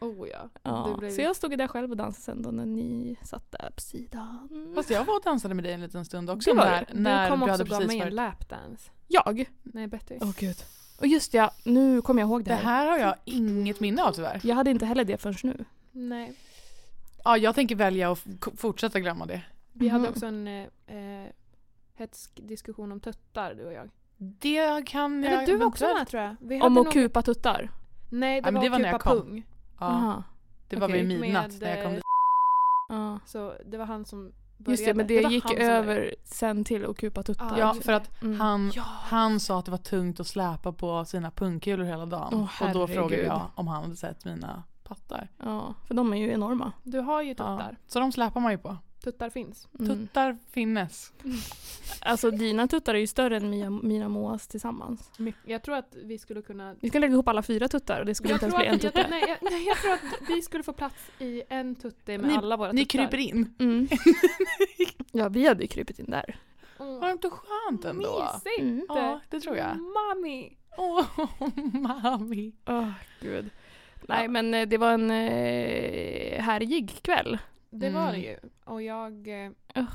S3: Oh ja.
S1: Ja.
S3: Du blev
S1: Så jag stod ju där själv och dansade sen då när ni satt där på sidan.
S2: Fast jag var och dansade med dig en liten stund också.
S1: Det var
S2: när,
S1: det.
S2: när
S3: du kom också
S2: hade
S3: och gav
S2: precis
S3: mig en
S2: varit-
S3: lapdance.
S1: Jag?
S3: Nej Betty.
S1: Åh gud. Och just det, ja, nu kommer jag ihåg det
S2: Det
S1: här.
S2: här har jag inget minne av tyvärr.
S1: Jag hade inte heller det förrän nu.
S3: Nej.
S2: Ja, jag tänker välja att f- fortsätta glömma det.
S3: Vi hade
S1: Mhm.
S3: också en eh, eh, hetsk diskussion om tuttar du och jag.
S2: Det kan jag...
S3: Eller du var också
S2: eventuellt-
S3: med tror jag. Vi
S1: Om
S3: hade
S1: att
S3: någon-
S1: kupa tuttar?
S3: Nej, det
S2: Ja, men
S3: var,
S2: det var när
S3: kupa
S2: jag kom.
S3: pung.
S2: Ja,
S1: Aha.
S2: det var
S1: okej.
S2: vid midnatt
S3: Med,
S2: när jag kom
S3: eh,
S2: dit.
S1: Ja.
S3: Så det var han som började.
S1: Just det, men det,
S3: var
S1: gick
S3: han som började.
S1: över sen till att kupa tuttar.
S3: Ja,
S2: Ja,
S3: just
S2: för att
S1: Mm.
S2: han,
S3: Ja.
S2: han sa att det var tungt att släpa på sina pungkulor hela dagen.
S1: Åh,
S2: och då frågade
S1: herregud.
S2: jag om han hade sett mina pattar.
S1: Ja, för de är ju enorma.
S3: Du har ju
S2: Ja.
S3: tuttar.
S2: Så de släpar man ju på.
S3: Tuttar finns.
S1: Mm.
S2: Tuttar finnes.
S1: Alltså dina tuttar är ju större än mina, mina och Moas tillsammans.
S3: Jag tror att vi skulle kunna...
S1: Vi kan lägga ihop alla fyra tuttar och det skulle
S3: Jag
S1: inte ens
S3: tror
S1: bli en
S3: att- jag-
S1: tutte.
S3: nej, jag- nej, jag tror att vi skulle få plats i en tutte med
S2: Ni-
S3: alla våra
S2: Ni
S3: tuttar.
S2: kryper in.
S1: Mm. ja, vi hade ju krypit in där.
S3: Mm.
S2: Var det inte skönt ändå?
S3: Mysigt!
S1: Mm.
S2: Ja, det tror jag.
S3: Mm. Mami!
S2: Åh, mami.
S1: Åh, gud. Nej, men eh, det var en eh, härjig kväll.
S3: Det
S2: Mm.
S3: var det ju. Och jag eh,
S1: Ugh.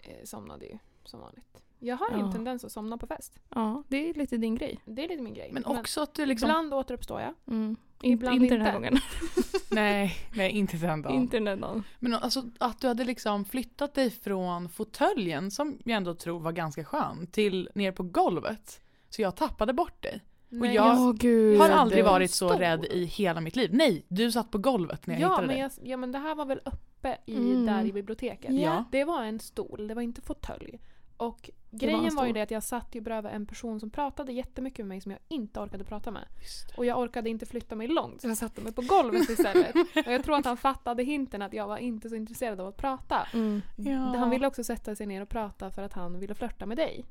S3: eh, somnade ju som vanligt. Jag har ju
S1: Ja.
S3: en tendens att somna på fest.
S1: Ja, det är lite din grej.
S3: Det är lite min grej.
S2: Men också att du liksom...
S3: Ibland återuppstår jag.
S1: Mm. Inte,
S3: Ibland
S1: inte den här
S3: inte.
S1: gången.
S2: Nej, nej inte den dagen.
S1: inte den här dagen.
S2: Men alltså att du hade liksom flyttat dig från fåtöljen som jag ändå tror var ganska skön till ner på golvet. Så jag tappade bort dig.
S3: Nej,
S2: jag
S1: Ja, gud.
S2: Har aldrig
S3: var
S2: varit så
S3: stor.
S2: rädd i hela mitt liv. Nej, du satt på golvet när jag
S3: ja,
S2: hittade
S3: men
S2: dig.
S3: jag, ja, men det här var väl uppe i,
S1: Mm.
S3: där i biblioteket.
S2: Ja.
S3: Det var en stol, det var inte fåtölj. Och
S1: var en
S3: grejen var, ju
S1: stol.
S3: det att jag satt ju bredvid en person som pratade jättemycket med mig som jag inte orkade prata med.
S2: Just det.
S3: Och jag orkade inte flytta mig långt så jag satte mig på golvet istället. och jag tror att han fattade hinten att jag var inte så intresserad av att prata.
S1: Mm.
S2: Ja.
S3: Han ville också sätta sig ner och prata för att han ville flörta med dig.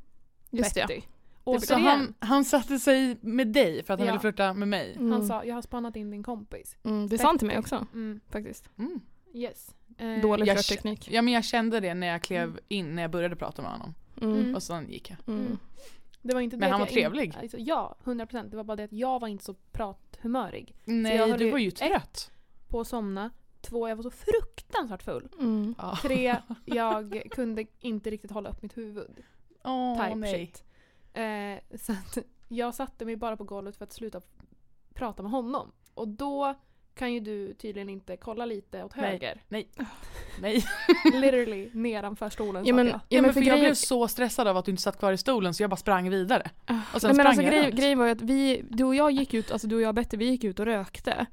S1: Just det.
S3: Betty.
S2: Och så han, han satte sig med dig för att han
S3: Ja.
S2: ville flirta med mig.
S1: Mm.
S3: Han sa jag har spannat in din kompis.
S1: mm, det sa han till mig också
S3: Mm,
S1: faktiskt.
S2: Mm.
S3: yes. Eh,
S1: Dålig
S2: jag
S1: körteknik.
S2: Ja men jag kände det när jag klev in när jag började prata med honom.
S1: Mm.
S3: Mm.
S2: Och sen gick jag.
S1: Mm.
S3: Det var inte
S2: Men
S3: det att
S2: han var
S3: jag
S2: trevlig.
S3: Inte, alltså, ja, 100 procent. Det var bara det att jag var inte så prathumörig.
S2: Nej,
S3: jag höll
S2: du
S3: ju-
S2: var ju trött.
S3: På att somna. Två, jag var så fruktansvärt full.
S1: Mm.
S2: Ja.
S3: Tre, jag kunde inte riktigt hålla upp mitt huvud.
S2: Åh,
S3: type
S2: nej.
S3: shit. Eh, så att jag satte mig bara på golvet för att sluta prata med honom. Och då kan ju du tydligen inte kolla lite åt
S2: Nej.
S3: höger.
S2: nej.
S3: Literally nedanför stolen
S1: Ja, men,
S3: satt
S1: ja,
S3: jag.
S2: Ja,
S1: men för
S2: för jag
S1: grejen-
S2: blev så stressad av att du inte satt kvar i stolen så jag bara sprang vidare. Och
S1: Nej, men
S2: sen sprang
S1: alltså,
S2: jag
S1: grej,
S2: runt.
S1: grejen var ju att vi, du och jag gick ut, alltså du och jag och Betty, vi gick ut och rökte.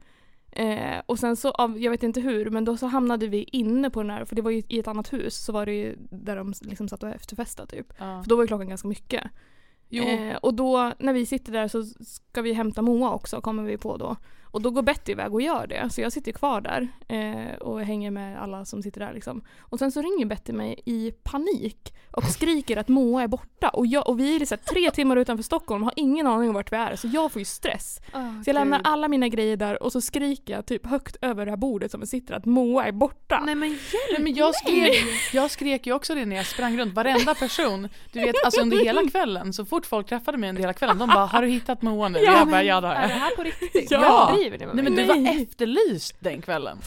S1: Eh, och sen så, av, jag vet inte hur, men då så hamnade vi inne på den här, för det var ju i ett annat hus, så var det ju där de liksom satt och efterfestade typ.
S2: Ja.
S1: För då var ju klockan ganska mycket.
S2: Jo,
S1: Eh, och då när vi sitter där så ska vi hämta Moa också, kommer vi på då. Och då går Betty iväg och gör det, så jag sitter kvar där eh, och hänger med alla som sitter där liksom. Och sen så ringer Betty mig i panik och skriker att Moa är borta. Och, jag, och vi är så här, tre timmar utanför Stockholm har ingen aning om vart vi är, så jag får ju stress.
S3: Ah,
S1: Så jag lämnar
S3: gud.
S1: alla mina grejer där och så skriker jag typ högt över det här bordet som vi sitter att Moa är borta.
S3: Nej men hjälp!
S2: Nej, men jag, skrek, jag skrek ju också det när jag sprang runt, varenda person. Du vet, alltså under hela kvällen, så fort folk träffade mig under hela kvällen, de bara “Har du hittat Moa nu?” Jag bara “Ja det har
S3: Är det
S2: jag”.
S3: här på riktigt?
S2: Ja.
S3: Jag driver det med
S2: Nej
S3: mig.
S2: men du var efterlyst den kvällen.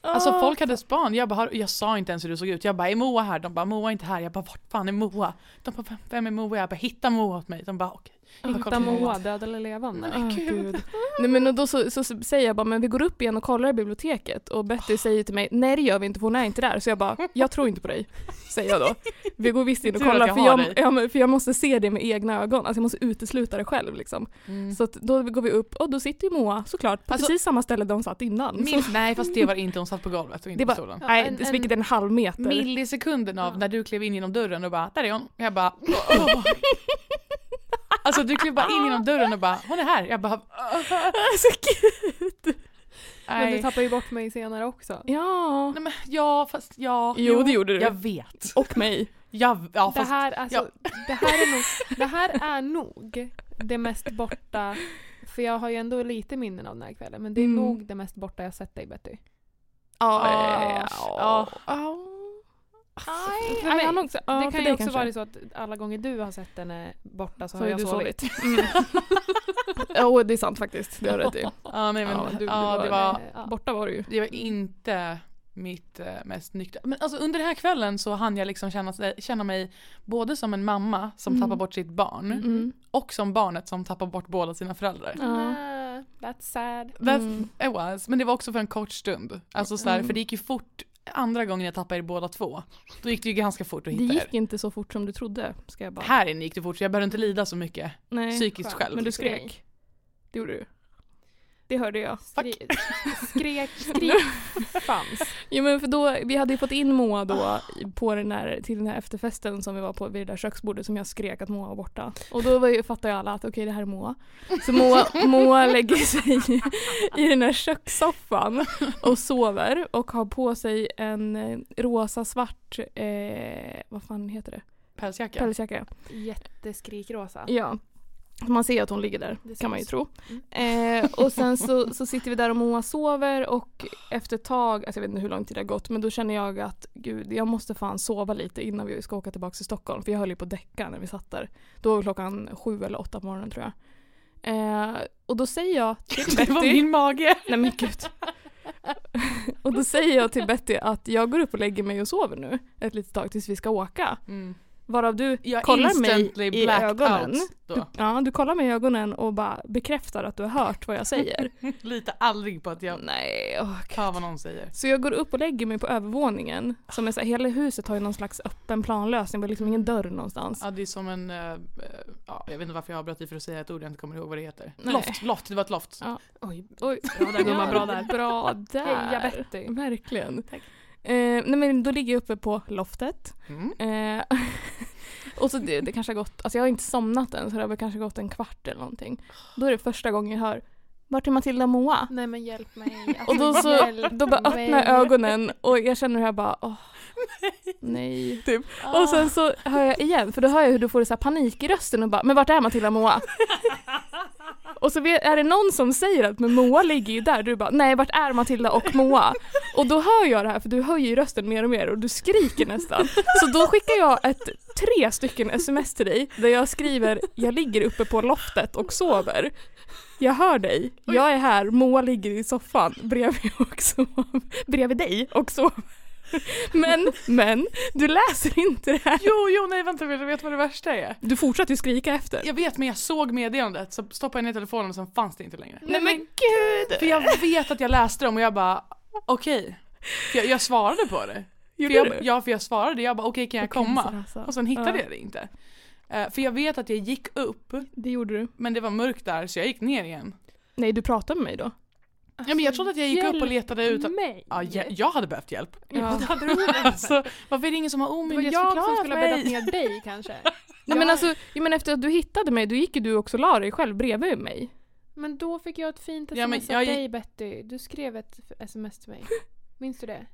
S2: Alltså
S1: Ah.
S2: folk hade span, jag bara "Har- Jag sa inte ens hur du såg ut, jag bara “Är Moa här?” De bara “Moa är inte här”, jag bara “Vart fan är Moa?” De bara “Vem- “Vem är Moa?” Jag bara “Hitta Moa åt mig”. De bara “Okej”. Jag bara,
S3: Hitta
S2: kollade på
S3: Moa, död eller levande.
S1: Åh, gud. Nej, men och då så, så säger jag bara, men vi går upp igen och kollar i biblioteket och Betty säger till mig, nej det gör vi inte för hon är inte där. Så jag bara, jag tror inte på dig, säger jag då. Vi går visst in och
S2: Tur att
S1: kollar
S2: jag
S1: för
S2: har
S1: jag,
S2: dig.
S1: ja, men för jag måste se det med egna ögon, alltså jag måste utesluta det själv liksom.
S2: Mm.
S1: Så att då går vi upp och då sitter ju Moa såklart på
S2: Alltså-
S1: precis samma ställe där hon satt innan.
S2: Min, nej fast det var inte, hon satt på golvet och
S1: Det
S2: inte
S1: var-
S2: på stolen.
S1: Nej,
S3: en-
S1: det- vilket är en halv meter.
S2: Millisekunden av
S3: Ja.
S2: när du klev in genom dörren och bara “Där är hon”. Jag bara "Åh." Alltså du klev bara in genom dörren och bara “Hon är här”. Jag bara
S1: Alltså, gud.
S3: Men du
S2: nej.
S3: tappar ju bort mig senare också.
S1: Ja,
S2: nej men ja fast ja.
S1: jo det gjorde
S2: Jag
S1: du.
S2: vet.
S1: Och mig.
S2: Jag, ja
S3: Det
S2: fast
S3: här, alltså, det, här är nog, det här är nog det mest borta, för jag har ju ändå lite minnen av den här kvällen, men det är
S1: Mm.
S3: nog det mest borta jag sett dig Betty.
S1: Ja,
S2: Ja.
S1: ja.
S3: För mig,
S1: jag har nog- ja,
S3: det
S1: för
S3: kan
S1: dig
S3: ju också
S1: kanske.
S3: vara så att alla gånger du har sett henne borta så,
S1: Så
S3: har
S1: Alltså, har
S3: jag
S1: du
S3: sovit.
S1: sovit. Mm. Ja, och det är sant faktiskt. Det har du rätt i.
S2: ja nej men
S1: Ja,
S2: ja,
S1: du- du
S2: det,
S1: var-
S2: var,
S3: Eh, ja.
S1: Borta var du ju.
S2: det var inte mitt eh, mest nyktra. Men alltså under den här kvällen så hann jag liksom känna, känna mig både som en mamma som
S1: Mm.
S2: tappar bort sitt barn
S1: Mm.
S2: och som barnet som tappar bort båda sina föräldrar.
S1: Ja.
S3: Nah, That's sad.
S2: That's,
S1: Mm.
S2: It was. Men det var också för en kort stund. Alltså så här,
S1: Mm.
S2: För det gick ju fort andra gången jag tappade er båda två, då gick det ju ganska fort att
S1: Det
S2: hitta
S1: gick
S2: er.
S1: inte så fort som du trodde, ska jag bara...
S2: Här inne gick det fort så jag behövde inte lida så mycket
S1: Nej,
S2: psykiskt
S3: skönt.
S2: själv.
S1: men du
S3: för dig.
S1: skrek. Det gjorde du. Det hörde jag.
S3: Skri- skrek, skrik fanns.
S1: Ja men för då, vi hade ju fått in Moa då i- på den där, till den här efterfesten som vi var på vid det där köksbordet som jag skrek att Moa var borta. Och då var ju, fattade ju alla att okej det här är Moa. Så Moa, Moa lägger sig i den här kökssoffan och sover och har på sig en eh, rosa-svart, eh, vad fan heter det?
S2: Pälsjacka.
S1: Pälsjacka.
S3: Jätteskrikrosa.
S1: Ja. Man ser ju att hon ligger där,
S3: Det
S1: kan man ju
S3: syns.
S1: tro. Eh, och sen så, så sitter vi där och Moa sover och efter ett tag, alltså jag vet inte hur lång tid det har gått, men då känner jag att gud, jag måste fan sova lite innan vi ska åka tillbaka till Stockholm. För jag höll ju på att däcka när vi satt där. Då var klockan sju eller åtta på morgonen tror jag. Eh, och då säger jag till
S2: Det var
S1: Betty,
S2: min mage.
S1: nej men gud. och då säger jag till Betty att jag går upp och lägger mig och sover nu ett litet tag tills vi ska åka. Varav du
S2: Jag
S1: Mm. kollar mig
S2: instantly
S1: i
S2: blacked
S1: ögonen.
S2: out
S1: Du,
S2: då.
S1: ja, du kollar mig i ögonen och bara bekräftar att du har hört vad jag säger.
S2: Litar aldrig på att
S1: Mm.
S2: jag
S1: Nej, åh, gud.
S2: hör vad någon säger.
S1: Så jag går upp och lägger mig på övervåningen. Som är så här, hela huset har ju någon slags öppen planlösning, det var liksom ingen dörr någonstans.
S2: Ja, det är som en, eh, eh, ja, jag vet inte varför jag avbröt dig för att säga ett ord jag inte kommer ihåg vad det heter.
S1: Nej.
S2: Loft, loft, det var ett loft.
S1: Ja.
S3: Oj,
S1: Oj,
S3: bra där gumman, bra där.
S1: Bra där.
S3: Heja Betty.
S1: Verkligen. Eh, nej men då ligger jag uppe på loftet.
S2: Mm.
S1: Eh, och så det, det kanske har gått, alltså jag har inte somnat än så det har väl kanske gått en kvart eller någonting. Då är det första gången jag hör Vart är Matilda och Moa?
S3: Nej men hjälp mig.
S1: Och
S2: Alltså,
S1: då så,
S3: hjälp
S1: då bara öppnar
S3: mig.
S1: jag ögonen och jag känner hur jag bara åh, nej. Typ.
S3: Ah.
S1: Och sen så hör jag igen, för då hör jag hur du får så här panik i rösten och bara men vart är Matilda och Moa? Och så vet- är det någon som säger att men Moa ligger ju där, du bara nej vart är Matilda och Moa? Och då hör jag det här för du höjer ju rösten mer och mer och du skriker nästan. Så då skickar jag ett, tre stycken sms till dig där jag skriver jag ligger uppe på loftet och sover. Jag hör dig, jag är här, Moa ligger i soffan bredvid, och sover. bredvid dig och sover. Men, men, du läser inte det här.
S2: Jo, jo, nej vänta, vill du veta vad det värsta är?
S1: Du fortsätter ju skrika efter.
S2: Jag vet men jag såg meddelandet, så stoppade jag ner telefonen och sen fanns det inte längre.
S1: Nej men gud!
S2: För jag vet att jag läste dem och jag bara, okej. För Jag, jag svarade på det. För
S1: Gjorde
S2: jag,
S1: du?
S2: ja, för jag svarade, jag bara okej kan jag
S1: Okej,
S2: komma?
S1: Sarasa.
S2: Och sen hittade
S1: Ja.
S2: jag det inte. Eh, för jag vet att jag gick upp,
S1: Det gjorde du.
S2: men det var mörkt där så jag gick ner igen.
S1: Nej, du pratade med mig då.
S2: Ja men jag trodde att jag gick upp och letade ut att,
S3: Mig.
S2: ja, jag, jag hade behövt hjälp.
S1: Ja.
S2: Alltså, varför är det ingen som har
S3: Det var jag som skulle ha
S2: omyndighetsförklarat
S3: bäddat
S2: mig?
S3: ner dig kanske.
S1: Nej men alltså, ja, men efter att du hittade mig då gick ju du också och la dig själv bredvid mig.
S3: Men då fick jag ett fint
S2: Ja, men
S3: sms
S2: jag
S3: av
S2: gick-
S3: dig Betty. Du skrev ett f- sms till mig. Minns du det?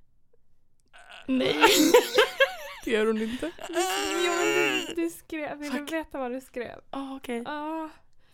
S1: Nej. Det gör hon inte.
S3: Du skrev, vill du
S2: Fuck.
S3: veta vad du skrev?
S2: Ah, okej.
S3: Ah,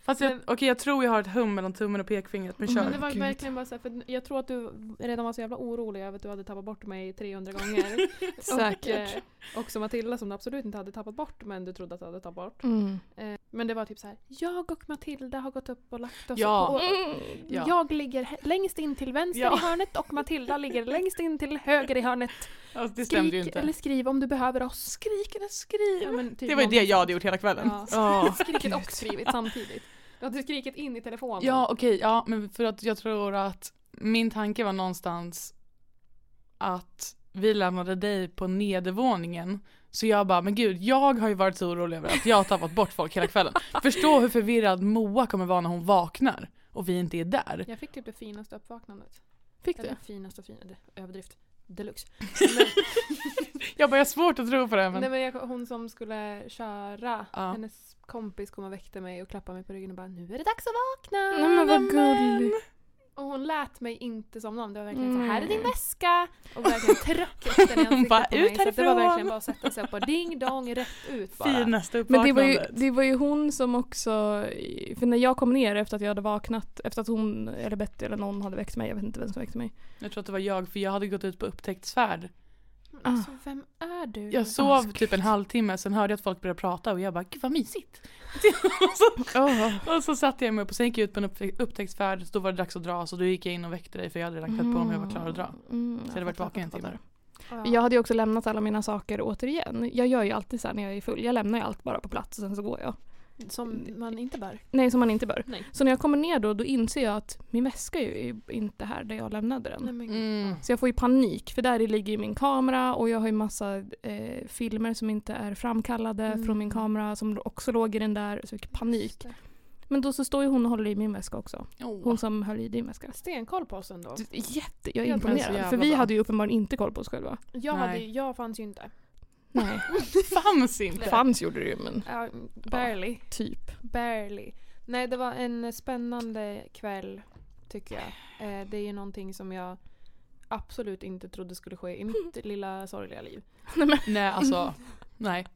S2: Fast jag,
S3: Men-
S2: okej jag tror jag har ett hum mellan tummen och pekfingret men kör.
S3: men det var
S1: Gud.
S3: verkligen bara så här, för jag tror att du redan var så jävla orolig över att du hade tappat bort mig 300 gånger. Och,
S1: Säkert.
S3: eh, också Matilda som du absolut inte hade tappat bort men du trodde att du hade tappat bort.
S1: Mm.
S3: Eh, men det var typ så här, jag och Matilda har gått upp och lagt oss
S2: Ja.
S3: på
S1: Mm.
S2: Ja.
S3: Jag ligger he- längst in till vänster
S2: Ja.
S3: i hörnet och Matilda ligger längst in till höger i hörnet.
S2: Alltså, det stämde ju
S3: Skrik
S2: inte.
S3: eller skriv om du behöver oss.
S2: Skrik eller skriv.
S3: Ja, men typ
S2: Det var ju
S3: någon-
S2: det jag hade gjort hela kvällen.
S3: Ja.
S2: Ja,
S3: Skrikit och skrivit samtidigt. Du hade skrikit in i telefonen.
S2: ja okej, ja men för att jag tror att min tanke var någonstans att vi lämnade dig på nedervåningen så jag bara, men gud jag har ju varit så orolig över att jag har tappat bort folk hela kvällen. Förstå hur förvirrad Moa kommer vara när hon vaknar och vi inte är där.
S3: Jag fick typ det finaste uppvaknandet.
S1: Fick
S3: Eller
S1: du?
S3: finaste och finaste, överdrift. Deluxe.
S2: Jag bara, jag har svårt att tro på det här, men
S3: Nej, men jag, hon som skulle köra,
S2: Ja.
S3: hennes kompis kom och väckte mig och klappade mig på ryggen och bara nu är det dags att vakna.
S1: Nej men vad gullig.
S3: Och hon lät mig inte somna om. Det var verkligen så
S1: Mm.
S3: här är din väska! Och verkligen tryck efter den i ansiktet
S2: bara,
S3: på
S2: "Ut
S3: mig. Så att det var
S2: härifrån!"
S3: verkligen bara att sätta sig upp och ding dong rätt ut bara.
S2: finaste
S1: Men det
S2: uppvaknandet.
S1: var, ju, det var ju hon som också, för när jag kom ner efter att jag hade vaknat, efter att hon eller Betty eller någon hade väckt mig, jag vet inte vem som väckte mig.
S2: Jag tror att det var jag, för jag hade gått ut på upptäcktsfärd.
S3: Men Alltså vem är du?
S2: Jag sov
S1: Ah,
S2: typ en halvtimme, sen hörde jag att folk började prata och jag bara, gud vad mysigt. och, så, och så satte jag mig upp och sen gick jag ut på en upptäck, upptäcktsfärd, så då var det dags att dra, så då gick jag in och väckte dig för jag hade redan klätt på mig och var klar att dra.
S1: Mm,
S2: Så jag hade varit
S1: fattar,
S2: vaken en
S1: fattar.
S2: timme.
S3: Ja.
S1: Jag hade ju också lämnat alla mina saker återigen. Jag gör ju alltid så här när jag är full, jag lämnar ju allt bara på plats och sen så går jag.
S3: Som man inte bär.
S1: Nej, som man inte bör.
S3: Nej.
S1: Så när jag kommer ner då, då inser jag att min väska är ju inte här där jag lämnade den.
S3: Nej, men,
S2: Mm.
S1: Så jag får ju panik för där i ligger ju min kamera och jag har ju massa eh, filmer som inte är framkallade
S3: Mm.
S1: från min kamera som också låg i den där. Så jag fick panik. Men då så står ju hon och håller i min väska också. Hon som höll i din väska.
S3: Stenkoll på oss ändå.
S1: Du, Jätte, jag är
S3: Ja, men så
S1: imponerad. För
S2: jävla
S1: vi
S2: bra.
S1: hade ju uppenbarligen inte koll på oss själva.
S3: Jag,
S2: Nej.
S3: hade, jag fanns ju inte.
S1: Nej,
S2: Fanns inte.
S1: fanns gjorde det ju men
S3: Ja, barely.
S1: typ.
S3: Barely. Nej, det var en spännande kväll tycker jag. Eh, det är ju någonting som jag absolut inte trodde skulle ske i mitt lilla sorgliga liv.
S2: Nej, alltså. Nej.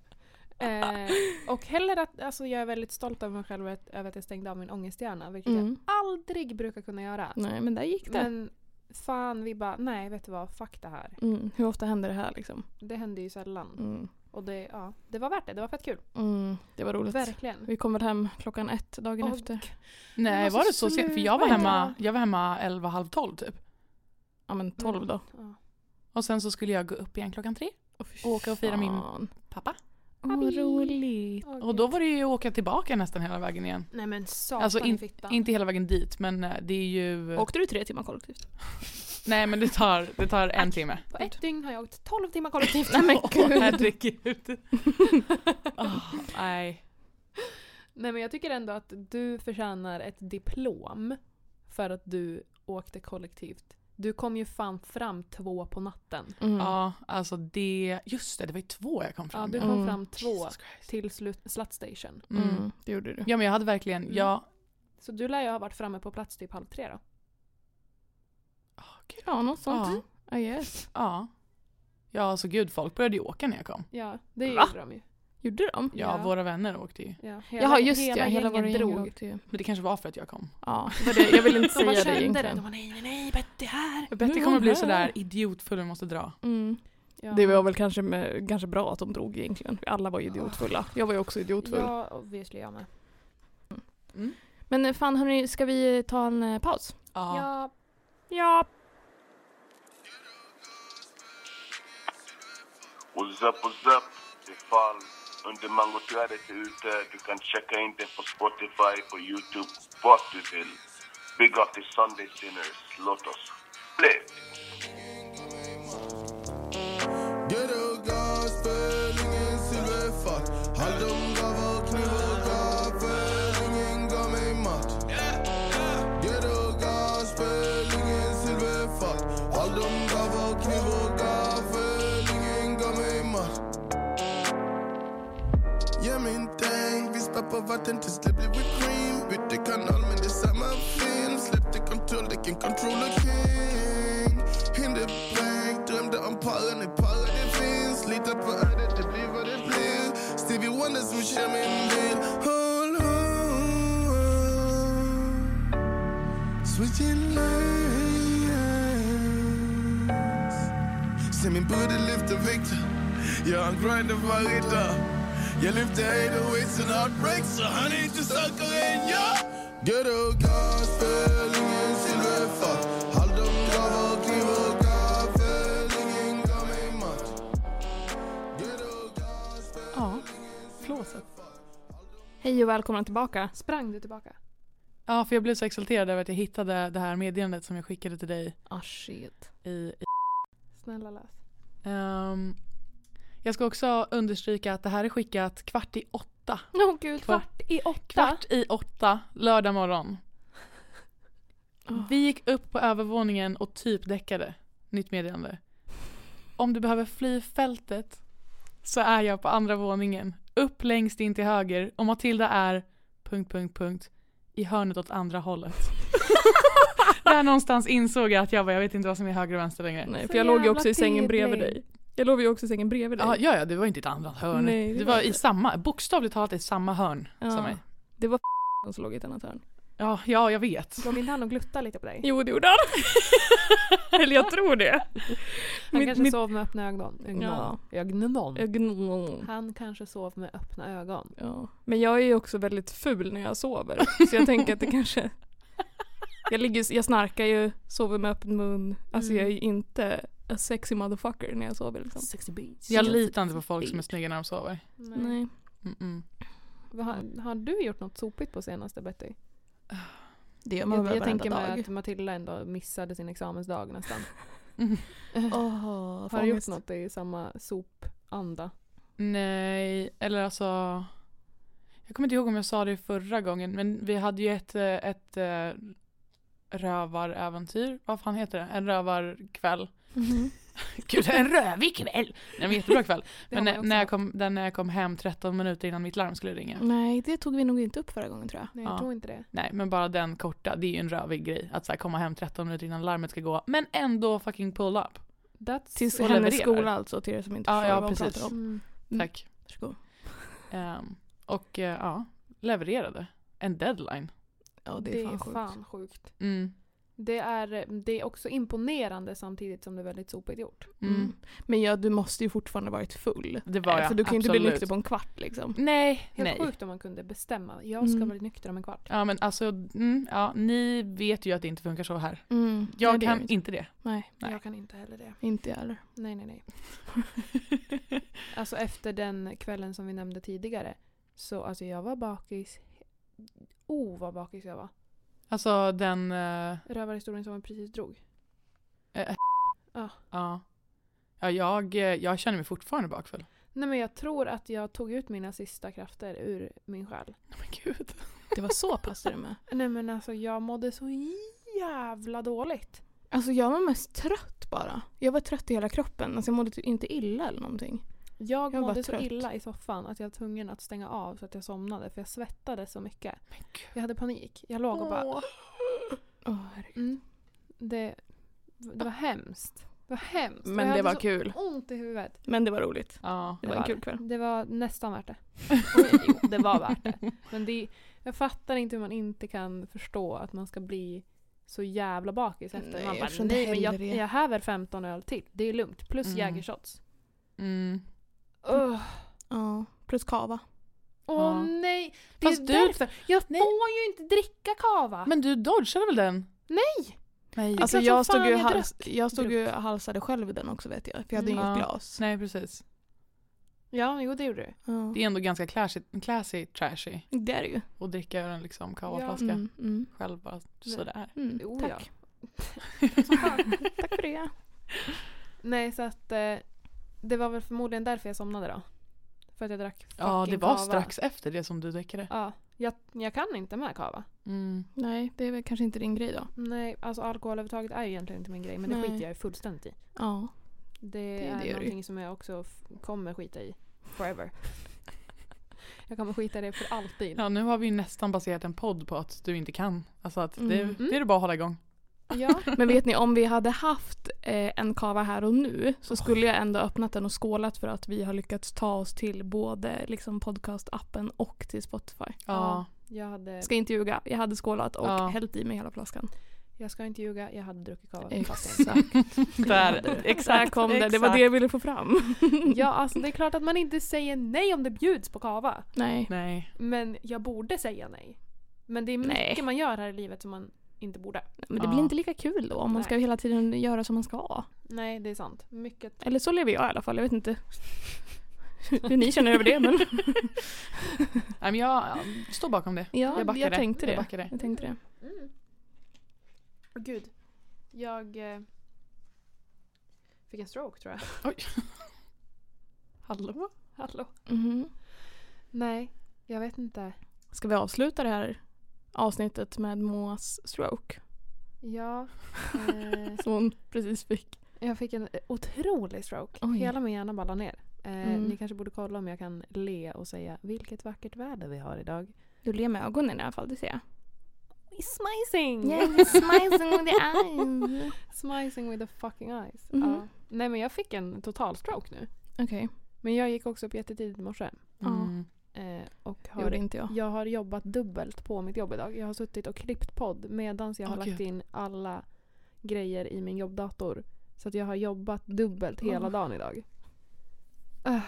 S3: Eh, och heller att, alltså jag är väldigt stolt över mig själv att- över att jag stängde av min ångesthjärna, vilket jag
S1: Mm.
S3: aldrig brukar kunna göra.
S1: Nej men där gick det.
S3: Men fan, vi bara, nej vet du vad, fuck det här.
S1: Mm. Hur ofta händer det här liksom?
S3: Det hände ju sällan.
S1: Mm.
S3: Och det, ja, det var värt det, det var fett kul.
S1: Mm. Det var roligt.
S3: Verkligen.
S1: Vi kommer hem klockan ett dagen
S3: Och-
S1: efter.
S2: Nej,
S3: alltså,
S2: var det så sent? För jag var
S3: sluta.
S2: hemma, jag var hemma 11, halv 12 typ.
S1: Ja men
S3: Mm.
S1: tolv då.
S3: Ja.
S2: Och sen så skulle jag gå upp igen klockan tre.
S1: Och
S2: Åka och fira min- Pappa.
S1: Åh vad roligt.
S3: Åh,
S2: Och då
S3: gud.
S2: var det ju åka tillbaka nästan hela vägen igen.
S3: Nej men satan
S2: Alltså,
S3: i fittan.
S2: Inte hela vägen dit, men eh, det är ju...
S1: Åkte du tre timmar kollektivt?
S2: Nej, men det tar, det tar en timme.
S3: På ett dygn har jag åkt 12 timmar kollektivt.
S1: Nej men
S2: Åh,
S1: gud.
S2: herregud. Ah, nej.
S3: Nej men jag tycker ändå att du förtjänar ett diplom för att du åkte kollektivt. Du kom ju fan fram två på natten.
S1: Mm.
S2: Ja, alltså det... Just det, det var ju två jag kom
S3: Ja,
S2: fram
S3: du
S2: med.
S3: kom
S1: Mm.
S3: fram två
S2: Jesus Christ.
S3: till slut, Slut Station.
S2: Mm.
S1: Mm. Det gjorde du.
S2: Ja, men jag hade verkligen...
S3: Mm.
S2: Ja,
S3: Så du lär ju ha varit framme på plats typ halv tre då.
S1: Ja något sånt. Ja,
S2: Ja.
S1: yes.
S2: ja. Ja, alltså gud, folk började ju åka när jag kom.
S3: Ja, det
S1: Va?
S3: gjorde de ju.
S1: Gjorde de?
S2: Ja,
S3: Ja.
S2: våra vänner åkte ju.
S3: Ja, hela,
S1: Jaha just
S3: hela
S1: det, hela
S3: gänget
S1: våra gäng
S3: drog.
S1: åkte ju.
S2: Men det kanske var för att jag kom.
S1: Ja, det var det. jag ville inte
S3: De bara
S1: säga det
S3: kände det.
S1: egentligen.
S3: De bara nej, nej, nej, Betty är här.
S2: Betty
S1: Nu
S2: kommer
S1: är
S2: bli
S1: hon
S2: sådär
S1: här.
S2: idiotfull och måste dra.
S1: Mm.
S3: Ja.
S1: Det var väl kanske, med, kanske bra att de drog egentligen. Alla var ju idiotfulla. Jag var ju också idiotfull.
S3: Ja, obviously jag med.
S2: Mm.
S1: Men eh, fan hörni, ska vi ta en eh, paus?
S2: Ja.
S3: Ja,
S1: Ja.
S6: What's up, what's up? Ifall under mangoträdet är ute, du kan checka in den på Spotify, på Youtube, vart du vill. Big up the Sunday Sinners, låt oss play!
S7: Ghetto guys, ingen silverfat All de gav och kniv och gaffel, ingen gav mig mat Ghetto guys, ingen silverfat All de gav och kniv och gaffel, ingen gav mig mat Ge min tänk, vi spär på vatten tills det blir whipped cream Bytte kanal men det är samma film Släppte kontroll, det kan controller king Hinder blank, drömde om pallen, nu pallen det finns Litar på ödet, det blir vad det blir Stevie Wonder som kör min bil Håll, håll, switching lanes Se min brudde lyfter vikter Ja han grindar varje dag Jag lyfter hejdawits and heartbreaks Så han är inte starkare än jag Ghetto gospel, ingen silverfat Håll dem gav och kniv och gaffel Ingen gav mig mat Ghetto gospel
S2: Ja. Flåset.
S1: Hej och välkomna tillbaka.
S3: sprang du tillbaka?
S2: Ja, för jag blev så exalterad över att jag hittade det här meddelandet som jag skickade till dig
S3: Ah shit.
S2: i... i
S3: Snälla läs.
S2: Ehm, jag ska också understryka att det här är skickat kvart i åtta.
S3: Åh gud,
S2: Kvart-
S3: kvart i åtta.
S2: Kvart i åtta, lördag morgon.
S1: Ah.
S2: Vi gick upp på övervåningen och typ däckade. Nytt meddelande. Om du behöver fly fältet så är jag på andra våningen. Upp längst in till höger och Matilda är... Punkt, punkt, punkt. I hörnet åt andra hållet. Där någonstans insåg jag att jag bara, jag vet inte vad som är höger och vänster längre.
S1: Nej,
S3: Så
S1: för jag låg ju
S3: jävla
S1: också i sängen bredvid
S3: tidning.
S1: dig. Jag låg ju också i sängen bredvid dig.
S2: Ja, ja, ja, det var inte ett annat hörn.
S1: Nej,
S2: det,
S1: det
S2: var
S1: var
S2: i
S1: inte.
S2: samma, bokstavligt talat i samma hörn
S1: Ja.
S2: som mig.
S1: Det var som låg i ett annat hörn.
S2: Ja, ja, jag vet.
S3: Låg inte han och gluttade lite på dig?
S1: Jo, det gjorde han. Eller jag tror det.
S3: Han
S1: Mitt-
S3: kanske
S1: mitt-
S3: sov med öppna ögon.
S1: Ja.
S3: Ögnon.
S1: Jag gnom.
S3: Han kanske sov med öppna ögon.
S1: Ja. Men jag är ju också väldigt ful när jag sover. Så jag tänker att det kanske... Jag, ligger, jag snarkar ju, sover med öppen mun. Alltså
S3: Mm.
S1: jag är ju inte a sexy motherfucker när jag sover liksom.
S2: Jag litar inte på folk som är snygga när de sover.
S1: Nej.
S2: Mm-mm.
S3: Vad Har, har du gjort något sopigt på senaste Betty?
S1: Det gör man
S3: Jag,
S1: väl
S3: jag tänker mig
S1: dag.
S3: att Matilda ändå missade sin examensdag nästan.
S1: Åh,
S3: Har du gjort
S1: ångest.
S3: något i samma sopanda?
S2: Nej, eller alltså. Jag kommer inte ihåg om jag sa det förra gången, men vi hade ju ett, eh, ett eh, rövaräventyr. Vad fan heter det? En rövarkväll.
S1: Mm-hmm.
S2: Gud, en rövig kväll! Nej, men jättebra kväll.
S3: Det har
S2: Men
S3: man
S2: när-
S3: också Mm.
S2: när jag,
S3: haft.
S2: kom, den, när jag kom hem 13 minuter innan mitt larm skulle ringa.
S1: Nej, det tog vi nog inte upp förra gången tror jag.
S3: Nej, jag
S2: Ja.
S3: tror inte det.
S2: Nej, men bara den korta. Det är ju en rövig grej. Att så här komma hem 13 minuter innan larmet ska gå. Men ändå fucking pull up.
S3: That's...
S1: Till
S2: Och
S1: hennes
S2: levererar.
S1: skola alltså, till er som inte
S2: Ja,
S1: förstår
S2: ja,
S1: vad hon
S2: precis.
S1: pratar om.
S3: Mm.
S1: Mm.
S2: Tack.
S1: Varsågod.
S2: Ehm, och eh, ja, levererade. En deadline.
S1: Ja, det är fan sjukt.
S3: sjukt.
S2: Mm.
S3: Det är, det är också imponerande samtidigt som det är väldigt sopigt gjort.
S2: Mm.
S1: Mm. Men ja, du måste ju fortfarande varit full.
S2: Det var jag.
S1: För du kan ju inte bli
S2: absolut.
S1: nykter på en kvart liksom.
S2: Nej,
S3: Helt
S2: nej.
S3: sjukt om man kunde bestämma. Jag ska
S1: Mm.
S3: vara nykter om en kvart.
S2: Ja men alltså, mm, ja, ni vet ju att det inte funkar så här.
S1: Mm.
S2: Jag
S1: Nej, det gör
S2: kan
S1: vi inte.
S2: inte det.
S1: Nej,
S2: Nej.
S3: Jag kan inte heller det.
S1: inte jag heller.
S3: Nej, nej, nej. Alltså efter den kvällen som vi nämnde tidigare. Så alltså jag var bakis. Oh vad bakis jag var.
S2: Alltså den, eh,
S3: Rövarhistorien som vi precis drog.
S2: ja. Ja, jag, eh, jag känner mig fortfarande bakfull.
S3: Nej men jag tror att jag tog ut mina sista krafter ur min själ.
S2: Oh, men gud.
S1: Det var så pass det med.
S3: Nej men alltså jag mådde så jävla dåligt.
S1: Alltså jag var mest trött bara. Jag var trött i hela kroppen. Alltså jag mådde typ inte illa eller någonting.
S3: Jag,
S1: Jag var
S3: mådde så
S1: trött.
S3: illa i soffan att jag var tvungen att stänga av så att jag somnade för jag svettades så mycket.
S2: Men gud.
S3: Jag hade panik. Jag låg och bara...
S2: Åh.
S1: Åh, herregud.
S3: Mm, det, det var hemskt. Det var hemskt. Och jag
S1: Men det
S3: hade
S1: var
S3: så
S1: kul.
S3: ont i huvudet.
S1: Men det var roligt.
S2: Ja.
S1: Det var en
S3: var
S1: kul kväll.
S3: Det var nästan värt det. jo, det var värt det. Men det, jag fattar inte hur man inte kan förstå att man ska bli så jävla bakis efter.
S1: Nej,
S3: man
S1: jag
S3: bara,
S1: förstår inte
S3: nej men jag,
S1: heller det."
S3: jag häver 15 öl till. Det är lugnt. Plus
S2: Mm.
S3: jägershots.
S2: Mm.
S3: Ugh.
S1: Ja, plus kava.
S3: Åh
S2: Ja.
S3: nej! Det
S2: Fast
S3: är
S2: du-
S3: därför. Jag
S2: Nej.
S3: får ju inte dricka kava!
S2: Men du dodgade väl den?
S3: nej!
S2: Nej.
S1: Alltså
S3: klart som
S1: jag stod,
S3: fan
S1: ju
S3: jag
S1: hals, jag stod ju halsade själv i den också vet jag. För jag hade
S3: Mm.
S1: inget
S2: Ja.
S1: glas.
S2: Nej precis.
S3: Ja, jo det gjorde du.
S1: Ja.
S2: Det är ändå ganska classy, classy trashy
S1: Det är det ju.
S2: att dricka ur en liksom kavaflaska.
S1: Mm, mm,
S2: Själv bara sådär.
S1: mm.
S3: Jo, ja.
S1: Tack.
S3: Som fan.
S1: Tack för det.
S3: nej så att eh, det var väl förmodligen därför jag somnade då. För att jag drack fucking
S2: Ja det var
S3: kava.
S2: strax efter det som du däckade.
S3: Ja, jag, jag kan inte med kava.
S2: Mm.
S1: Nej, det är väl kanske inte din grej då.
S3: Nej, alltså alkohol överhuvudtaget är ju egentligen inte min grej men det
S1: Nej.
S3: skiter jag ju fullständigt i.
S1: Ja.
S3: Det,
S1: det gör
S3: är
S1: du.
S3: någonting som jag också f- kommer skita i. Forever. jag kommer skita i det för alltid.
S2: Ja nu har vi ju nästan baserat en podd på att du inte kan. Alltså att det,
S1: Mm.
S2: det är det bara att hålla igång.
S3: Ja,
S1: Men vet ni, om vi hade haft eh, en kava här och nu så skulle jag ändå öppnat den och skålat för att vi har lyckats ta oss till både liksom, podcastappen och till Spotify.
S2: Ja.
S3: jag, hade,
S1: Ska inte ljuga, jag hade skålat och
S2: Ja.
S1: hällt i mig hela flaskan. Eh,
S3: jag ska inte ljuga, jag hade druckit kava.
S2: Där,
S1: Där kom det, det var det jag ville få fram.
S3: Ja, alltså det är klart att man inte säger nej om det bjuds på kava.
S1: Nej.
S2: Nej.
S3: Men jag borde säga nej. Men det är mycket
S1: Nej.
S3: man gör här i livet som man inte borde.
S1: Men det
S2: Ja.
S1: blir inte lika kul då om man ska
S3: Nej.
S1: hela tiden göra som man ska.
S3: Nej, det är sant. Mycket.
S1: Eller så lever jag i alla fall, jag vet inte hur ni känner över det men
S2: Nej men jag ja, står bakom det.
S1: ja,
S2: Jag
S1: jag,
S2: backar det.
S1: tänkte
S2: Jag
S1: det.
S2: backar det.
S1: Jag tänkte det.
S3: Mm. Åh, Gud. Jag eh, fick en stroke tror jag.
S2: Hallå?
S3: Hallå?
S1: Mhm.
S3: Nej, jag vet inte.
S1: Ska vi avsluta det här avsnittet med Moas stroke
S3: Ja, eh,
S1: som hon precis fick?
S3: jag fick en otrolig stroke.
S1: Oj.
S3: Hela min hjärna bara la ner. Eh,
S1: Mm.
S3: Ni kanske borde kolla om jag kan le och säga vilket vackert väder vi har idag.
S1: Du ler med ögonen i alla fall, det ser jag.
S3: It's smicing!
S1: Mm. smiling with the eyes.
S3: Smicing with the fucking eyes.
S1: Mhm.
S3: Ja. Nej men jag fick en total stroke nu.
S1: Okej,
S3: Men jag gick också upp jättetidigt i morse.
S1: Ja.
S2: Mm.
S3: Eh, och
S1: det Mm, gjorde
S3: har,
S1: inte jag.
S3: jag har jobbat dubbelt på mitt jobb idag. Jag har suttit och klippt podd medan jag har
S2: Åh,
S3: lagt
S2: gud.
S3: in alla grejer i min jobbdator. Så att jag har jobbat dubbelt hela
S1: Åh.
S3: dagen idag. Ah.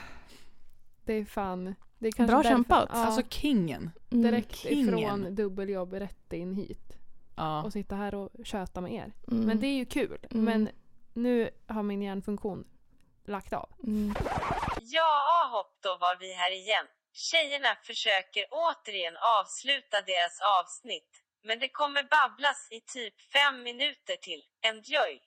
S3: det är fan... Det är kanske
S1: Bra
S3: därför-
S1: kämpat.
S3: Ja,
S2: Alltså kingen.
S1: Mm.
S3: direkt
S2: kingen.
S3: ifrån dubbeljobb rätt in hit.
S2: Ja.
S3: Och sitta här och köta med er.
S1: Mm.
S3: Men det är ju kul.
S1: Mm.
S3: Men nu har min hjärnfunktion lagt av.
S1: Mm.
S5: Ja, hopp då var vi här igen. Tjejerna försöker återigen avsluta deras avsnitt, men det kommer babblas i typ fem minuter till. Enjoy!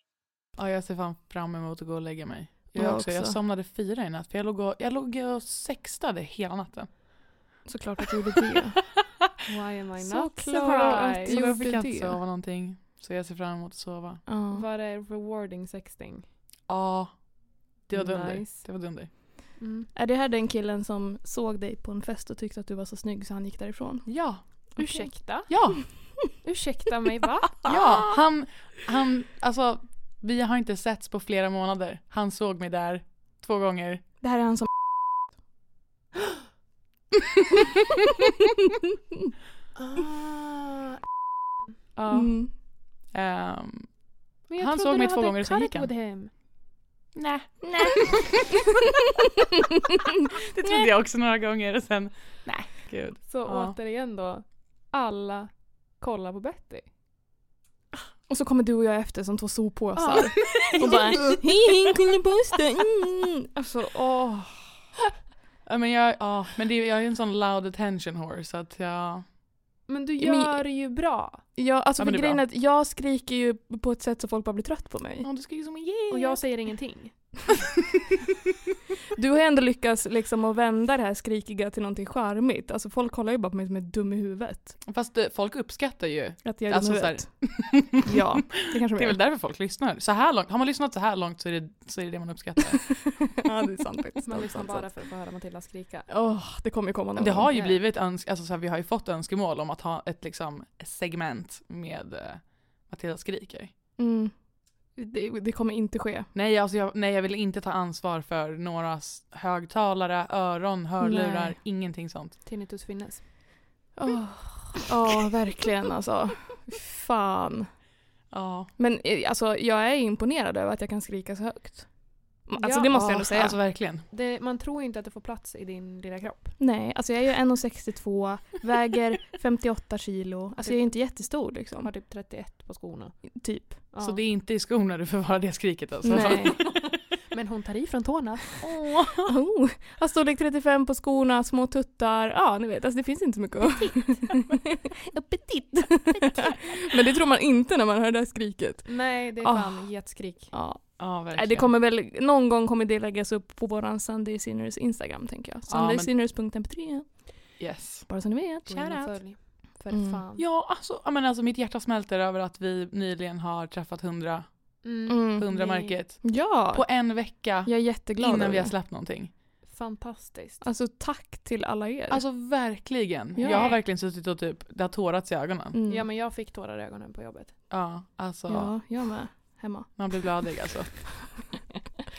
S2: Ja, jag ser fan fram emot att gå och lägga mig. Jag,
S1: Jag
S2: också. jag
S1: också.
S2: somnade fyra i natt för jag låg och, jag låg och sextade hela natten.
S1: Såklart att du gjorde det.
S3: Why am I not
S1: Såklart att
S3: surprised?
S1: du-
S2: Så jag fick
S1: gjorde
S2: inte
S1: det.
S2: sova någonting. Så jag ser fram emot att sova.
S1: Ja.
S3: Var det rewarding sexting?
S2: Ja, det var dunder.
S3: Nice.
S2: Det var dunder.
S1: Är det här den killen som såg dig på en fest och tyckte att du var så snygg så han gick därifrån?
S2: Ja,
S3: Ursäkta?
S2: Ah. ja,
S3: Ursäkta mig, va?
S1: Ah.
S2: ja. Han, han, alltså vi har inte setts på flera månader. Han såg mig där två gånger.
S1: Det här är han som
S3: Ah,
S2: Ja.
S1: mm.
S2: Ehm,
S3: men jag
S2: Han
S3: trodde
S2: såg
S3: du
S2: mig två
S3: hade
S2: gånger, sen
S3: cut
S2: gick
S3: it
S2: han.
S3: with him.
S2: Nej. det trodde jag också några gånger och sen, nej. Gud.
S3: Så
S2: Ja.
S3: återigen då, alla kollar på Betty.
S1: Och så kommer du och jag efter som två soppåsar.
S3: Ja.
S1: Och bara hej hej kullepuss mm. Alltså åh.
S2: Ja, men jag, ja, men det, jag är ju en sån loud attention whore så att jag...
S3: Men du
S1: Men-
S3: gör det ju bra.
S1: Ja, alltså för
S2: Ja, men det är
S1: grejen
S2: bra.
S1: är att jag skriker ju på ett sätt så folk bara blir trött på mig.
S2: Ja, du skriker som en yeah.
S3: Och jag säger ingenting.
S1: Du har ju ändå lyckats liksom att vända det här skrikiga till någonting charmigt. Alltså folk kollar ju bara på mig som är dum i huvudet.
S2: Fast eh, folk uppskattar ju.
S1: Att jag är
S2: Alltså,
S1: dum i
S2: så här-
S1: huvudet. Ja, det kanske
S2: Det är väl
S1: de
S2: därför folk lyssnar. Så här långt, har man lyssnat så här långt så är det så är det, det man uppskattar.
S1: Ja, det är sant faktiskt.
S3: Man
S1: Det är sant,
S3: lyssnar liksom bara
S1: sant.
S3: för att få höra Matilda skrika.
S1: Åh, det kommer ju komma någon
S2: Det har ju
S3: Ja.
S2: blivit önsk- alltså, så här, vi har ju fått önskemål om att ha ett liksom, segment med eh, Matilda skriker.
S1: Mm. Det, det kommer inte ske.
S2: Nej, alltså jag, nej, jag vill inte ta ansvar för någras högtalare, öron, hörlurar,
S1: Nej.
S2: ingenting sånt.
S3: Tinnitus finnes.
S1: Åh, åh, verkligen alltså. Fan.
S2: Ja.
S1: Men eh, alltså, jag är imponerad över att jag kan skrika så högt. Alltså det måste jag ändå säga.
S2: Alltså verkligen.
S3: Det, man tror ju inte att det får plats i din lilla kropp.
S1: Nej, alltså jag är ju 1,62, väger 58 kilo. Alltså jag är ju inte jättestor liksom.
S3: Har typ 31 på skorna.
S1: Typ.
S3: Ja.
S2: Så det är inte i skorna du förvarar det skriket alltså.
S1: Nej.
S3: Men hon tar i från tårna.
S1: Oh, har storlek 35 på skorna, små tuttar. Ja, ni vet, alltså det finns inte så mycket att... Petit. Men det tror man inte när man hör det här skriket.
S3: Nej, det är
S1: Ah.
S3: fan getskrik.
S1: Ja.
S2: Ja, verkligen.
S1: Nej, Äh, Det kommer väl, någon gång kommer det läggas upp på våran Sunday Sinners Instagram tänker jag.
S2: men-
S1: Sundaysinners.mp3.
S2: Yes.
S1: Bara så ni vet.
S3: Gå in och
S1: Shoutout.
S3: följ. För
S1: Mm.
S3: fan.
S2: Ja, alltså, ja, men alltså mitt hjärta smälter över att vi nyligen har träffat 100,
S3: Mm.
S1: Mm.
S2: 100
S3: Nej.
S2: märket
S1: Ja,
S2: på en vecka
S1: jag är jätteglad
S2: innan
S1: över
S2: vi har
S1: det.
S2: släppt någonting.
S3: Fantastiskt.
S1: Alltså tack till alla er.
S2: Alltså verkligen.
S1: Ja.
S2: Jag har verkligen suttit och typ, det har tårats i ögonen.
S1: Mm.
S3: Ja men jag fick tårar i ögonen på jobbet.
S2: Ja, alltså
S1: Ja, jag med. Hemma.
S2: man blir gladig alltså.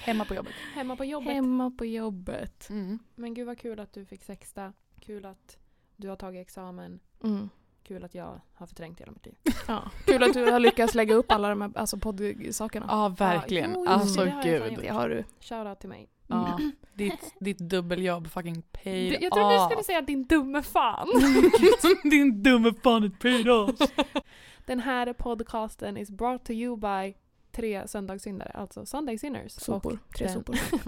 S2: Hemma på jobbet.
S3: Hemma på jobbet.
S1: Hemma på jobbet.
S2: Mm.
S3: Men gud vad kul att du fick sexta. Kul att du har tagit examen.
S1: Mm.
S3: Kul att jag har förträngt hela mitt liv.
S1: Ja. Kul att du har lyckats lägga upp alla de här alltså, poddsakerna.
S2: Ja, verkligen.
S3: Ja, jo, just det,
S2: alltså
S3: det har jag fan
S2: gud.
S3: gjort.
S1: Det har du.
S3: Shoutout till mig.
S2: Ja, ditt, ditt dubbeljobb fucking paid
S3: Jag trodde du
S1: Ah.
S2: off.
S3: skulle säga din dumme fan.
S2: Din dumme fan it paid off.
S3: Den här podcasten is brought to you by tre söndagssyndare, alltså Sunday Sinners.
S1: Sopor. Tre
S3: den-
S1: sopor.
S3: Och,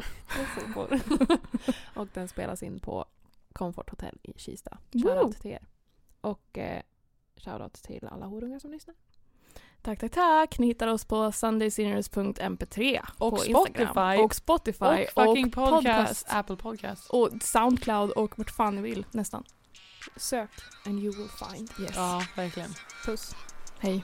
S3: och, sopor. och den spelas in på Comfort Hotel i Kista.
S1: Wow.
S3: Shoutout till er. Och eh, shoutout till alla horungar som lyssnar.
S1: Tack, tack, tack. Ni hittar oss på sundaysinners.mp3
S2: Och
S1: på
S2: Spotify.
S1: Instagram. Och Spotify.
S2: Och fucking podcast,
S1: podcast.
S2: Apple podcast.
S1: Och Soundcloud och vart fan ni vill nästan.
S3: Sök and you will find.
S1: Yes.
S2: Ja, verkligen.
S3: Puss.
S1: Hej.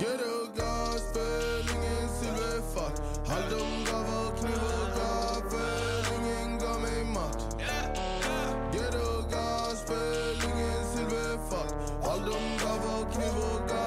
S7: Ghetto guys, fälling en silverfack All de gav och kniv och gav, fälling en gav mig mat Ghetto guys, fälling en silverfack All de gav och kniv och gav